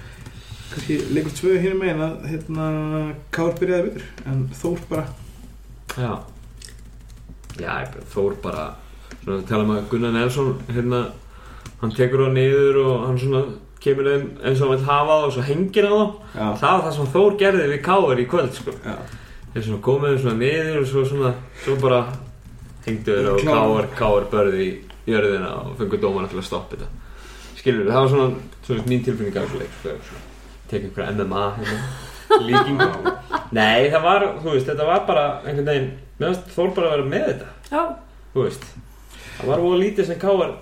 Speaker 1: kannski leikur tvö hérna megin að hérna, K.R. byrjaði betur en Þór bara
Speaker 2: Já Já, ég- Þór bara Svona við talum að Gunnar Nelson Hérna Hann tekur það niður og hann svona Kemur þeim eins og hann vil hafa það og svo hengir hann þá
Speaker 1: Já,
Speaker 2: Það var það sem Þór gerði við Káar í kvöld sko.
Speaker 1: já.
Speaker 2: Þeir svona komið þeim svona niður og svo svona Svo bara hengdu þeir og
Speaker 1: Klár.
Speaker 2: Káar Káar börði í jörðina og fengur dómarna til að stoppa þetta Skilur, það var svona, svona mín tilfinning af þessu leik sko, svona, Tekið einhverja MMA hérna Líkingu Nei, það var, þú veist, þetta var bara einhvern veginn Mér finnst Þór bara að vera með þetta
Speaker 3: Já,
Speaker 2: Þú veist Það var voru lítið sem Káar voru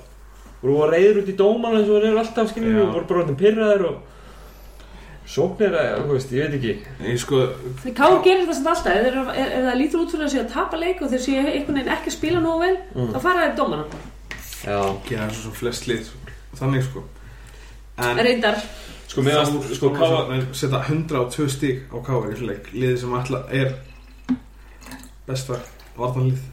Speaker 2: voru reyður út í dómarna eins og þeir eru alltaf skilur
Speaker 1: Já.
Speaker 2: og voru bara orðin pyrraðir og sóknir að, þú veist, ég veit ekki
Speaker 1: Ég sko,
Speaker 3: þeir káur gerir það sem alltaf Ef þeir- ef- ef það lítur út fyrir að sé að tapa leik og þeir séu einhvern veginn ekki að spila nógu vel
Speaker 2: Mm.
Speaker 3: þá fara þeir dómana
Speaker 2: Já,
Speaker 1: gera svo svo flest lið þannig sko en
Speaker 3: Reyndar,
Speaker 2: sko mér að,
Speaker 1: Þór
Speaker 2: sko Káa
Speaker 1: Þorláksson setja 102 stík á K.R. í þessu leik liðið sem alltaf er besta vartanlið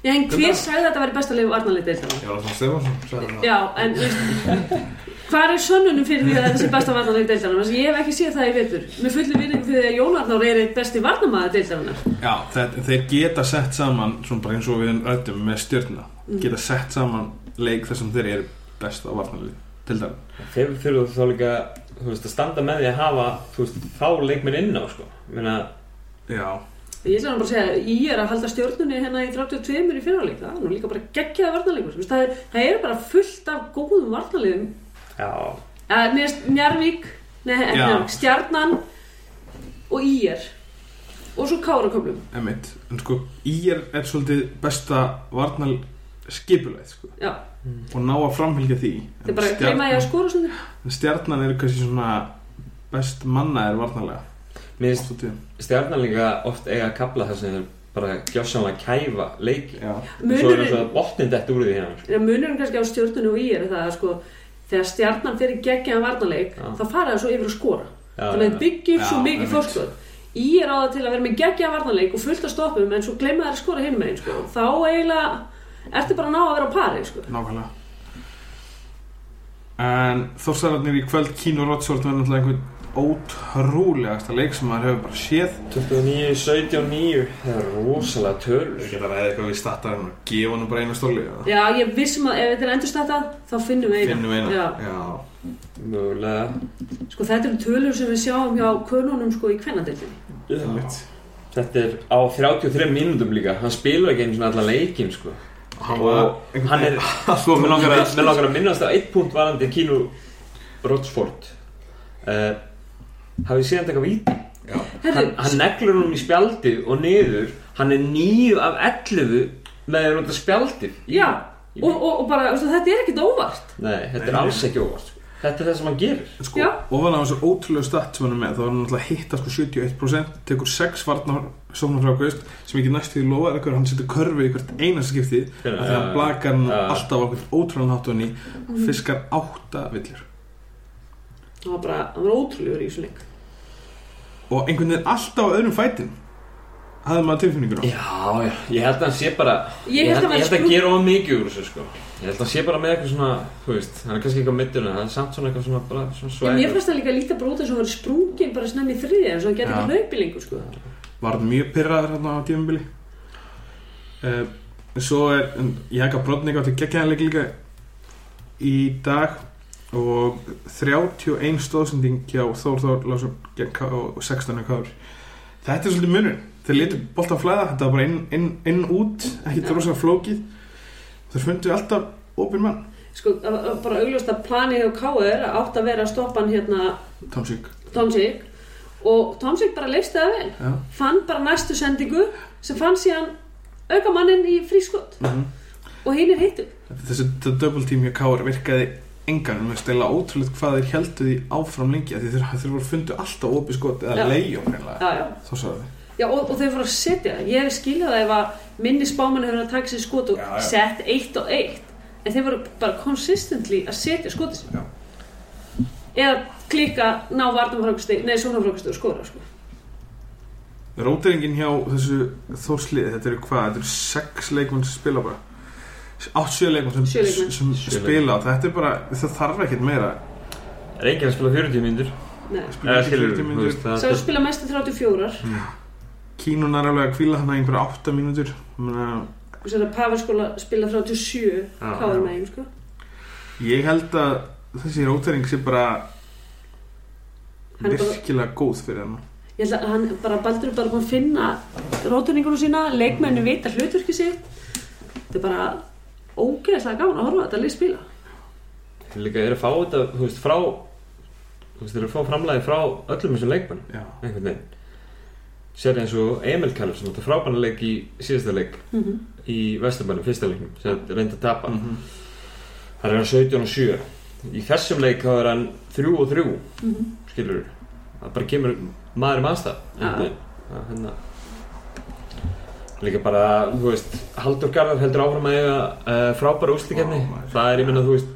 Speaker 3: ég heng hver
Speaker 1: Reyndar.
Speaker 3: sagði að þetta væri besta leik varnarlið deildana
Speaker 1: Ég var alltaf Stefánsson, sagði hann
Speaker 3: Já, en þú veist Hvað er sönnunum fyrir því að þetta sé besta varnarleik deildarinnar? Ég hef ekki séð það í vetur. Með fullu vinningu fyrir því að Jónarnar er eitt besti varnarmaður deildarinnar.
Speaker 1: Já, þeir, þeir geta sett saman svona bara eins og við rættum með stjörna
Speaker 3: Mm.
Speaker 1: geta sett saman leik þar sem þeir eru best á varnarlið til dæmi
Speaker 2: Þeir þurfa þá líka þú veist, að standa með því að hafa þú veist, þá leikminn inn á sko. Meina,
Speaker 1: Já,
Speaker 3: Ég ætla nú bara að segja að ég er að halda stjórnunni hérna í 32 í fyrraleik. Það er nú líka bara geggjaða varnarleikur. Þú veist, Það, er- það er bara fullt af góðum varnarleikum.
Speaker 2: já,
Speaker 3: Eh, Mér finnst Njarvík, nei, ekki
Speaker 1: Já.
Speaker 3: Njarvík, Stjarnan og Ír. Og svo Káraköflum.
Speaker 1: emitt en sko, ír er svolítið besta varnal skipulæð sko,
Speaker 3: Já,
Speaker 1: og ná að framfylgja því
Speaker 3: þeir bara gleyma sko. ég að skora svona.
Speaker 1: en stjarnan er kannski svona best manna er varnarlega
Speaker 2: mér finnst
Speaker 1: Svolítið.
Speaker 2: stjarnar líka oft eiga að kapla þar sem þeir bara gjössanlega kæfa leiki
Speaker 1: Já,
Speaker 2: og svo er
Speaker 3: Munurinn,
Speaker 2: þess að botnin dætt úr því hérna sko.
Speaker 3: ja, munurinn kannski á stjórnunni og Ír er það að sko, þegar Stjarnan fyrir geggjaða varnarleik,
Speaker 2: Já.
Speaker 3: þá fara það svo yfir að skora.
Speaker 2: Já,
Speaker 3: Þannig að
Speaker 2: já,
Speaker 3: þeir byggja upp svo
Speaker 1: Já,
Speaker 3: mikið
Speaker 1: einmitt.
Speaker 3: fórskot. Ír á það til að vera með geggjaða varnarleik og fullt að stoppum, en svo gleyma þeir að skora hinn megin, sko. Þá eiginlega ertu bara að ná að vera á pari, sko.
Speaker 1: nákvæmlega En þórsararnir í kvöld Kínu Rotsvort var náttúrulega einhvern ótrúlegasta leik sem maður hefur bara séð
Speaker 2: 29, 17, 9 það er rosalega
Speaker 1: Við
Speaker 2: tölur
Speaker 1: geta ræðið eitthvað við startarinn og gefa hann bara einu stóli eða?
Speaker 3: Já, ég vissum að ef þetta er endurstættað, þá finnum við eina.
Speaker 1: Finnum eina
Speaker 3: Já.
Speaker 1: Já.
Speaker 2: mögulega
Speaker 3: Sko þetta eru tölur sem við sjáum hjá konunum sko í kvennadildinni.
Speaker 1: Einmitt.
Speaker 2: þetta er á 33 mínútum líka hann spilur ekki einu svona allan leikin sko.
Speaker 1: Og Hann,
Speaker 2: Og hann er-
Speaker 1: Sko,
Speaker 2: Mér
Speaker 1: mér
Speaker 2: langar,
Speaker 1: langar
Speaker 2: að, mér langar að minnast á eitt punkt varandi Kínu Rotsford uh, Hafið séð þetta eitthvað víti? Hann, hann neglur hún í spjaldið og niður Hann er nýju af 11 með að nota spjaldið
Speaker 3: Já, og, og, og bara veistu, þetta er ekkert óvart.
Speaker 2: Nei, þetta er
Speaker 1: Nei.
Speaker 2: alls ekki óvart sko. Þetta er það sem hann gerir
Speaker 1: að Sko,
Speaker 3: Já.
Speaker 1: ofan á þessu ótrúlega statt sem hann er með þá er hann alltaf að hitta sko 71% tekur 6 varnar sóknarfrákvist sem ekki næstu því lofa er eitthvað hann setur körfu í hvert einast skipti af því
Speaker 2: Fyrir-
Speaker 1: að hann blakar hann
Speaker 2: Já.
Speaker 1: alltaf á okkur ótrúlega hátt og hann í og fiskar 8 villir
Speaker 3: Það var bara, það var ótrúlegur í þessu leik.
Speaker 1: og einhvern veginn alltaf á öðrum fætin hafði maður tilfinningur á
Speaker 2: Já, já, ég held að hann sé bara
Speaker 3: Ég held að
Speaker 2: ég
Speaker 3: vera
Speaker 2: held að
Speaker 3: sprú...
Speaker 2: gera of mikið úr þessu sko Ég held að hann sé bara með eitthvað svona, þú veist Hann er kannski eitthvað middur en það er samt svona eitthvað svona, bara, svona
Speaker 3: Ég,
Speaker 2: svæg
Speaker 3: mér fannst það líka líta bara út eins og hann var sprungin bara snemmi í þriðja eins og hann gerði
Speaker 1: Já.
Speaker 3: ekki hlaupi lengur sko.
Speaker 1: var hann mjög pyrraður hérna á tímabili uh, svo er en Jaka Brodnik átti geggjaðanleik líka í dag og 31 stóðsending hjá Þór Þór Lásson gegn K- og 16 káður þetta er svolítið munur þeir litur bolta að flæða, þetta var bara inn, inn, inn út ekki
Speaker 3: Já.
Speaker 1: drósa flókið Þeir fundu alltaf opin mann,
Speaker 3: sko, að- að bara augljóst að planið hjá K.R. átt að vera að stoppa hann hérna
Speaker 1: Tom Schick.
Speaker 3: Tomsik og Tomsik bara leist það vel
Speaker 1: Já.
Speaker 3: fann bara næstu sendingu sem fann síðan aukamanninn í frískot
Speaker 1: Mhm.
Speaker 3: og hinn er hittu
Speaker 1: Þessi þetta double team hjá Káar virkaði engan um að stela ótrúlega hvað þeir heldu því áfram lengi af því þeir, þeir voru fundu alltaf opið skot eða
Speaker 3: Já.
Speaker 1: leiðjum hreinlega.
Speaker 3: já, já.
Speaker 1: Þá sagði þið.
Speaker 3: Já, og, og þau voru að setja það. Ég hef skiljað það ef að minni spámann hefur verið að taka sér skot og
Speaker 1: Já, já.
Speaker 3: sett eitt og eitt. En þeir voru bara consistently að setja skotið sér.
Speaker 1: Já.
Speaker 3: Eða klika, ná vartumfrákusti, nei, sónafrákusti og skora, sko.
Speaker 1: Róteringin hjá þessu þórsliði, þetta eru hvað, þetta eru sex leikmenn sem spila bara. Átt sjö leikmenn
Speaker 3: Sjö
Speaker 1: sem,
Speaker 3: leikmenn.
Speaker 1: sem
Speaker 2: Sjö
Speaker 1: spila. Þetta er bara, það þarf ekkert meira.
Speaker 2: er enginn að spila 40 mínútur
Speaker 3: Nei.
Speaker 2: eða skilur
Speaker 1: ekki 40
Speaker 2: þú
Speaker 1: mínútur.
Speaker 2: veist það
Speaker 3: Sá spila mestu 34,
Speaker 1: Kínun er alveg að kvíla þannig einhverja 8 mínútur. Menna,
Speaker 3: og sér að Pafarskóla spila 37,
Speaker 2: Já,
Speaker 3: hvað
Speaker 2: já.
Speaker 3: er með einu, sko.
Speaker 1: ég held að þessi rótering sé bara
Speaker 3: Hann er bara-
Speaker 1: virkilega góð fyrir hann.
Speaker 3: Ég held að hann bara, Baldur er bara búin að finna rótuningunum sína, leikmennu vita hlutverki sitt. Þetta er bara ógeðslega gaman að horfa á þetta lið spila.
Speaker 2: Þeir líka eru að fá þetta, þú veist, frá þú veist, þeir eru að fá framlæði frá öllum þessum leikmannum
Speaker 1: Já.
Speaker 2: einhvern veginn sér eins og Emil Kallur sem átti frábæna leik í síðasta leik
Speaker 3: Mm
Speaker 2: í Vestabænum, fyrsta leiknum sem hann reyndi að tapa
Speaker 1: Mhm.
Speaker 2: hann er hann 17 og 7 í þessum leik þá er hann 3 og 3 skilur það bara kemur maður um aðstað einhvern veginn. Það er hérna líka bara, þú veist Haldur Garðar heldur áfram að eiga uh, frábæra úslikefni
Speaker 1: Vá, maður.
Speaker 2: það er, ég minna, þú veist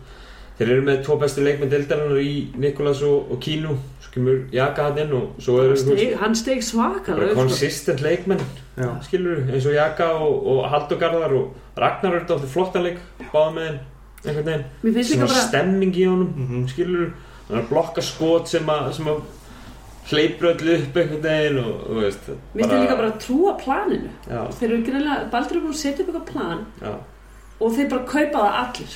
Speaker 2: þeir eru með tvo bestu leikmenn deildarinnar í Nikolas og, og Kínu svo kemur Jaka hann inn og svo eru, þú veist
Speaker 3: Steg, hann steg svakalega
Speaker 2: bara
Speaker 3: upp, sko.
Speaker 2: konsistent leikmenn
Speaker 1: Já.
Speaker 2: skilur eins og Jaka og, og Haldur Garðar og Ragnar eru þetta flottanleik báða með þeim, einhvern veginn
Speaker 3: Mér finnst líka
Speaker 2: svona
Speaker 3: bara
Speaker 2: stemming í honum
Speaker 1: Mhm.
Speaker 2: skilur, hann er að blokka skot sem að, sem að hleypur öllu upp einhvern veginn og, og veist
Speaker 3: Mér finnst líka bara að trúa planinu
Speaker 2: já,
Speaker 3: Þeir eru greinlega, Baldur er búin að setja upp eitthvað plan
Speaker 2: já.
Speaker 3: og þeir bara kaupa það allir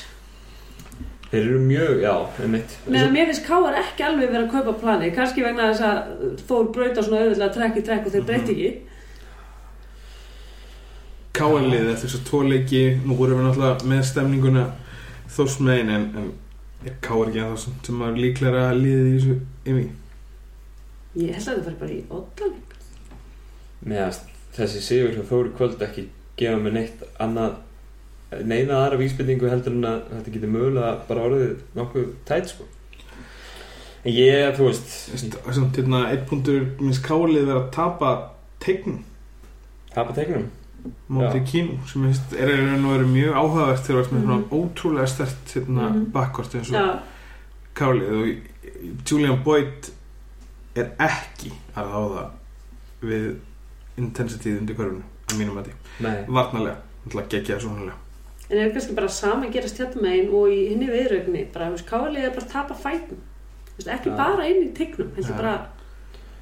Speaker 2: þeir eru mjög, já, einmitt
Speaker 3: meðan mér finnst Káar ekki alveg vera að kaupa plani kannski vegna þess að Þór brauta svona auðvitað trekk í trekk og þeir
Speaker 2: Mhm.
Speaker 3: breyti ekki
Speaker 1: KL-lið eftir þess að tvo leiki nú vorum við náttúrulega með stemninguna þórs megin en, en er KL ekki ennþá sem- sem maður líklega liðið í þessu yfir
Speaker 3: Ég held að það fari bara í oddaling
Speaker 2: meðast þessi sigur sem fóru kvöld ekki gefa mér neitt annað neina aðra vísbendingu heldur en að þetta getur mögulega bara orðið nokkuð tætt sko en ég, þú veist
Speaker 1: samt hérna einn punktur minnst KL-lið vera að tapa tegn
Speaker 2: tapa teiknum
Speaker 1: móti
Speaker 2: Já.
Speaker 1: kínu sem ég finnst er einhvern veginn verið mjög áhugavert þegar þú ert með
Speaker 3: Mhm.
Speaker 1: svona ótrúlega stert hérna
Speaker 3: Mhm.
Speaker 1: bakkvort eins
Speaker 3: Já,
Speaker 1: og KL-lið og Julian Boyd er ekki að ráða við intensityð undir körfunu að mínum að því,
Speaker 2: nei,
Speaker 1: varnarlega náttúrulega geggjaða svonulega
Speaker 3: en það er kannski bara sama að gerast hérna megin og í henni viðraugni bara, þú veist, Káar liðið er bara að tapa fætum Þú veist, ekki
Speaker 2: Já.
Speaker 3: bara inn í tegnum heldur
Speaker 1: Já.
Speaker 3: bara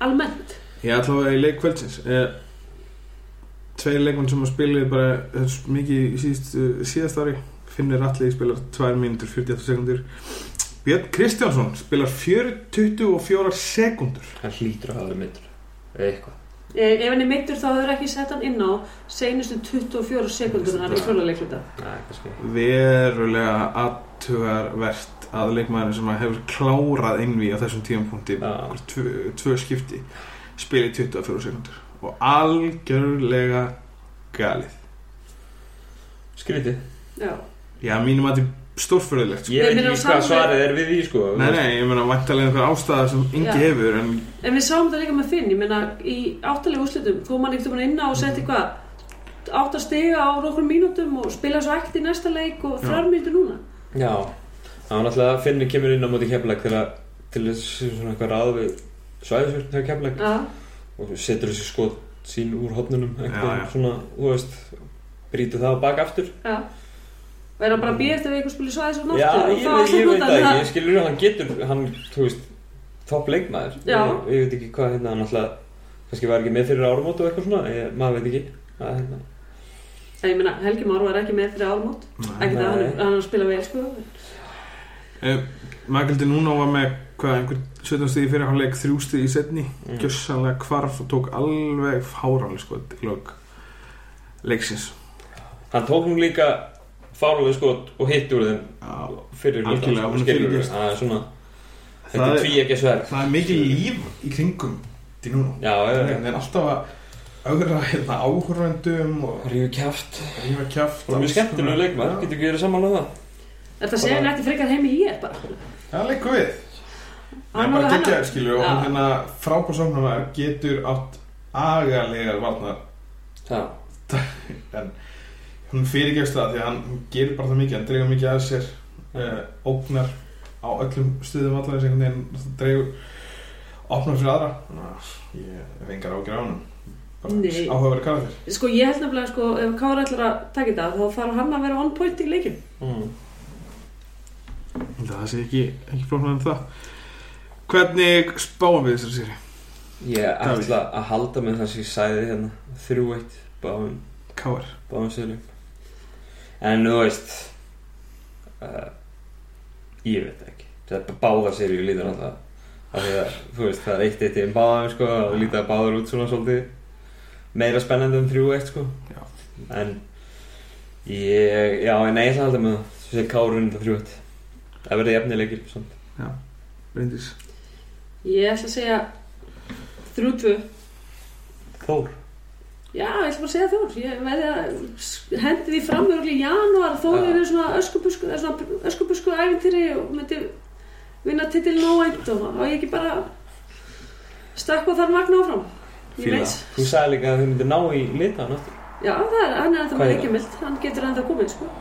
Speaker 3: almennt
Speaker 1: Ég ætla að í leik kvöldsins eh, Tveir leikmenn sem að spila bara eh, mikið í síðst, eh, síðast ári Finnur Atli spilar 2 mínútur 48 sekundur Björn Kristjánsson spilar 4.24 sekundur
Speaker 2: hann hlýtur að hafa verið mittur eitthvað
Speaker 3: Eh, Ef hann er meittur þá hefur ekki sett hann inn á seinustu 24 sekundunar í fjóluleikluta.
Speaker 2: Nei, kannski
Speaker 1: Verulega aðtugarvert að leikmæður sem að hefur klárað innví á þessum tímapunkti
Speaker 2: Já.
Speaker 1: einhver tvö, tvö skipti spila í 24 sekundur og algjörlega galið
Speaker 2: Skrítið
Speaker 3: Já.
Speaker 1: Já, mínum að þetta er stórfyrðilegt
Speaker 2: Ég
Speaker 3: Nei,
Speaker 2: veit
Speaker 3: meina,
Speaker 2: ekki hvað
Speaker 3: saman-
Speaker 2: svarið er við því sko
Speaker 1: Nei, nei, ég meina vantarlega einhver ástæða sem engi
Speaker 3: Já.
Speaker 1: hefur en
Speaker 3: En við sáum þetta líka með Finn, ég meina í áttalega úrslitum, þú mann ekkert um hann inn á og setti
Speaker 2: Mm.
Speaker 3: hvað, átt að stiga á nokkrum mínútum og spila svo ekkert í næsta leik og
Speaker 1: Já.
Speaker 3: þrjár mínútur núna.
Speaker 2: Já Það var náttúrulega að Finnur kemur inn á móti kemleik til að til þess svona eitthvað ráð við svæðisvörn þegar kemleik
Speaker 3: Já,
Speaker 2: og setur þessi skot sín úr hotnunum
Speaker 1: Já,
Speaker 2: eitthvað
Speaker 1: já.
Speaker 2: svona, þú veist brýtu það á bak aftur
Speaker 3: já. Og er hann bara að býja eftir að eitthvað spila svo aðeins og
Speaker 2: Já,
Speaker 3: náttúr
Speaker 2: ég, veit- ég veit það ekki, ég skilur hann getur hann, þú veist, topp leikmaður
Speaker 3: Já.
Speaker 2: ég, ég veit ekki hvað hérna, hann náttúrulega kannski var ekki með fyrir árumót og eitthvað svona ég, maður veit ekki að, hérna.
Speaker 3: En ég meina, Helgi Már var ekki með fyrir álmót,
Speaker 1: Nei.
Speaker 3: ekki það hann,
Speaker 2: Nei.
Speaker 3: hann er að spila vel, sko.
Speaker 1: Eh, Magildi núna var með hvað, einhver 17 stíði fyrir hálfleik þrjú stíði í setni,
Speaker 2: Mm.
Speaker 1: gjössanlega hvarf og tók alveg fáranlega sko í lok leiksins
Speaker 2: Hann tók nú líka fáluleg skot og hitt úr þeim
Speaker 1: Já,
Speaker 2: fyrir hluta,
Speaker 1: Algjörlega, hún er
Speaker 2: skilurðu?
Speaker 1: fyrirgefst.
Speaker 2: Það er svona, þetta
Speaker 1: það,
Speaker 2: er
Speaker 1: er,
Speaker 2: tví ekki sverð
Speaker 1: það er mikið líf í kringum til núna
Speaker 2: Já, já, já.
Speaker 1: Það er alltaf að augra hérna, áhörvendum og
Speaker 2: Rífi kjáft
Speaker 1: rífa kjaft
Speaker 2: Það er mjög skemmtilegu leikmar,
Speaker 1: Já.
Speaker 2: getur ekki verið sammála um það
Speaker 3: Þetta segir hann eftir frekar heim í ég bara.
Speaker 1: Það leikur við Það er
Speaker 3: Hann
Speaker 1: bara
Speaker 3: alveg-
Speaker 1: geggjaður skilju og hann
Speaker 3: Já.
Speaker 1: hérna frábúr samhæmar getur átt agalegar varnar
Speaker 2: Já,
Speaker 1: en hún fyrirgefst það því að hann hún gerir bara það mikið, hann dregur mikið að sér eh, ógnar á öllum stuðum allar þess einhvern veginn hann dregur, opnar fyrir aðra Þannig að ég hef engar ágjur á hann bara
Speaker 3: Nei.
Speaker 1: áhugaverið karakter
Speaker 3: Sko ég held nefnilega sko ef Kára ætlar að taka þetta þá þarf hann að vera on point í leikin.
Speaker 1: Eh.
Speaker 2: mm.
Speaker 1: Það sé ekki, ekki flóknar en það Hvernig spáum við þessari séri?
Speaker 2: Ég
Speaker 1: Davíð.
Speaker 2: ætla að halda með það sem ég sæði hérna Þrjú eitt, báðum,
Speaker 1: Káar
Speaker 2: báðum sérlum En þú veist uh, Ég veit ekki Það er bara báðar sérjum lítur alltaf Af því að, þú veist, það er eitt eitt í einn báðum sko og lítið að báðar út svona svolítið meira spennandi en þrjú eitt sko
Speaker 1: Já.
Speaker 2: En ég, já, en ég ætla að halda með það Svo sé Kárun þetta þrjú eitt Það verði jafnilegir, samt
Speaker 1: Bryndís
Speaker 3: Ég ætla að segja 3-2.
Speaker 2: Kór
Speaker 3: Já, ég ætla bara að segja Þór. Ég veði að hendi því fram í í janúar. Þór
Speaker 2: Já.
Speaker 3: er í svona öskubusku, eða svona öskubusku æfintýri og myndi vinna titil nóænt og á ég ekki bara stakka þar magna áfram. Ég
Speaker 1: Fíla.
Speaker 3: veit.
Speaker 2: Þú sagði líka að þau myndi ná í litan aftur.
Speaker 3: Já, það er, hann er ennþá
Speaker 2: Hvað er
Speaker 3: með
Speaker 2: það?
Speaker 3: leikjumild. Hann getur ennþá komið, sko.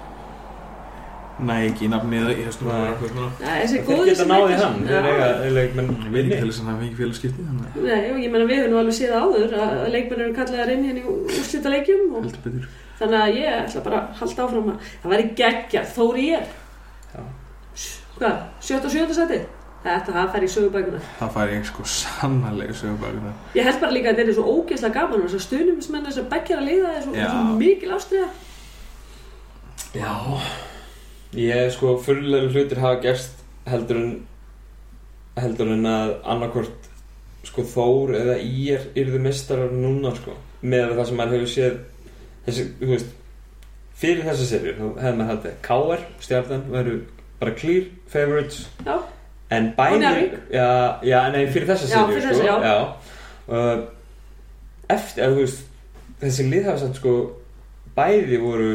Speaker 1: Næ ekki í nafnið í þessum
Speaker 2: Nei.
Speaker 1: Ég
Speaker 3: Já, þessi
Speaker 2: Þeir
Speaker 3: góður
Speaker 2: geta
Speaker 3: sem
Speaker 2: náði
Speaker 3: heitir-
Speaker 2: hann, þeir
Speaker 3: Já.
Speaker 2: eiga leikmenn
Speaker 1: veit ekki
Speaker 2: vinni.
Speaker 1: til þess að hann fengi félagskipti þannig að
Speaker 3: Nei, og ég meina við höfum nú alveg séð áður að að leikmenn eru kallaðar inn hérna í úrslita leikjum og
Speaker 1: heldur betur
Speaker 3: þannig að ég ætla bara að halda áfram að það væri geggja, þóri ég
Speaker 2: Já.
Speaker 3: Hvað, 77. seti? Þetta, það fær í sögubækuna
Speaker 1: Það fær ég sko sannarlega sögubækuna
Speaker 3: Ég held bara líka að þetta er svo ógeðslega gaman og þess að stuðnumismenn þess að bekkjar að leiða þess
Speaker 1: Já.
Speaker 3: og svo mikil ástriða
Speaker 2: Já. Ég sko, fyrirlega hlutir hafa gerst heldur en, heldur en að annarkvort sko Þór eða Ír yrðu mestarar núna sko. Með það sem maður hefur séð, þessi, þú veist, fyrir þessa serið, þá hefði maður haldið að KR, Stjarnan, veru bara clear favorites
Speaker 3: Já,
Speaker 2: En bæði
Speaker 3: Njarðvík.
Speaker 2: já, já, nei, fyrir þessa
Speaker 3: Já,
Speaker 2: seríu
Speaker 3: fyrir
Speaker 2: sko,
Speaker 3: þessa, já.
Speaker 2: Uh, Eftir, eða, þú veist Þessi lið hafa samt sko Bæði voru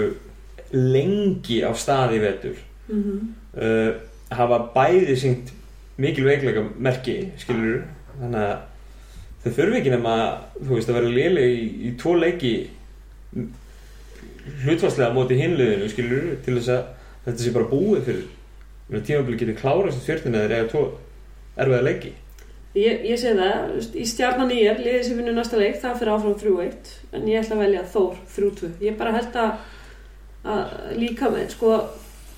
Speaker 2: lengi á staði í vetur
Speaker 3: mm
Speaker 2: uh, Hafa bæði syngt Mikil veikleika merki Skilur Þannig að þau þurfi ekki nema Þú veist að vera léleg í, í tvo leiki m- Hlutfastlega á móti hinliðinu skilur Til þess að þetta sé bara búið fyrir Þannig að tímabili getur klárað sem fjörtina þeir eiga tvo erfiða leiki
Speaker 3: ég, ég segi það, þú veist, í stjarnan ég er liðið sem vinnur næsta leik, það fyrir áfram 3-1 en ég ætla að velja Þór 3-2 Ég bara held að, að líka með, sko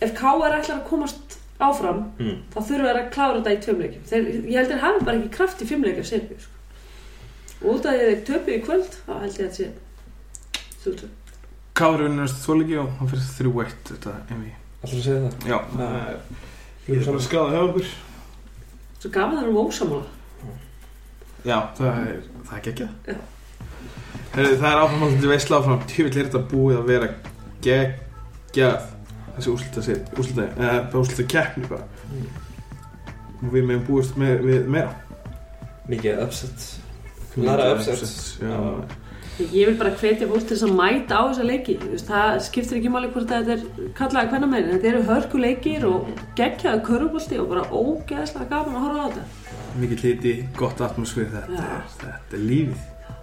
Speaker 3: ef KR ætlar að komast áfram
Speaker 2: mm.
Speaker 3: þá þurfa þær að klára þetta í tveimleikjum þeir, ég held þeir hafi bara ekki kraft í fimmleikjum serið sko. og út af því að þeir töpu í kvöld þá held ég að sé þúttu
Speaker 1: Kári vinnur næstu þóleiki og hann fyrir þrjú eitt þetta einví
Speaker 2: Alltaf að segja það
Speaker 1: Já, það er ég er bara skadað hjá okkur
Speaker 3: svo gaman það um ósamála
Speaker 1: Já, það er, það er geggjað
Speaker 3: Já.
Speaker 1: Herri, Það er áframhaldandi veisla áfram Tjöfill er þetta búið að vera geggjað Þessi úrslita sér, úrslita, eða bara úrslita keppni bara
Speaker 2: Mm.
Speaker 1: Og við meðum búist með, við meira
Speaker 2: Mikið upset Lara upsets
Speaker 1: Já,
Speaker 3: ég vil bara hvetja fólk til þess að mæta á þessa leiki Þú veist, það skiptir ekki máli hvort að þetta er kallaði hvernig meðin þetta eru hörkuleikir og geggjaði körubólti og bara ógeðslega gaman að horfa á þetta
Speaker 1: mikill hiti, gott atmosfér þetta,
Speaker 3: Já.
Speaker 1: er, þetta er lífið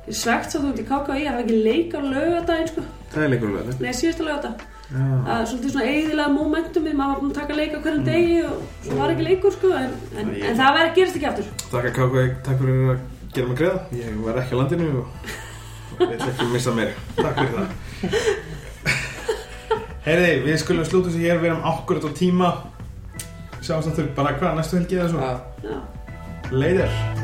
Speaker 3: ég svegt svo þú út í KKV að hafa ekki leik á laugardaginn sko,
Speaker 1: Það er leikur vel
Speaker 3: nei síðustu laugardag
Speaker 1: Já,
Speaker 3: að svolítið svona eiginlega momentumið maður var búinn að taka leik á hverjum degi og svo var ekki leikur sko en, en,
Speaker 1: Nei, ég-
Speaker 3: en það verður gerist ekki aftur
Speaker 1: takk að Káka, takk fyrir að gera mig greiða Ég var ekki á landinu og og vil ekki missa meira Takk fyrir það Heyri, við skulum slúta þessu hér, við erum akkurat Ah. á tíma Sjáumst náttúrulega bara hvað, næstu helgi eða svo
Speaker 3: Já.
Speaker 1: Leider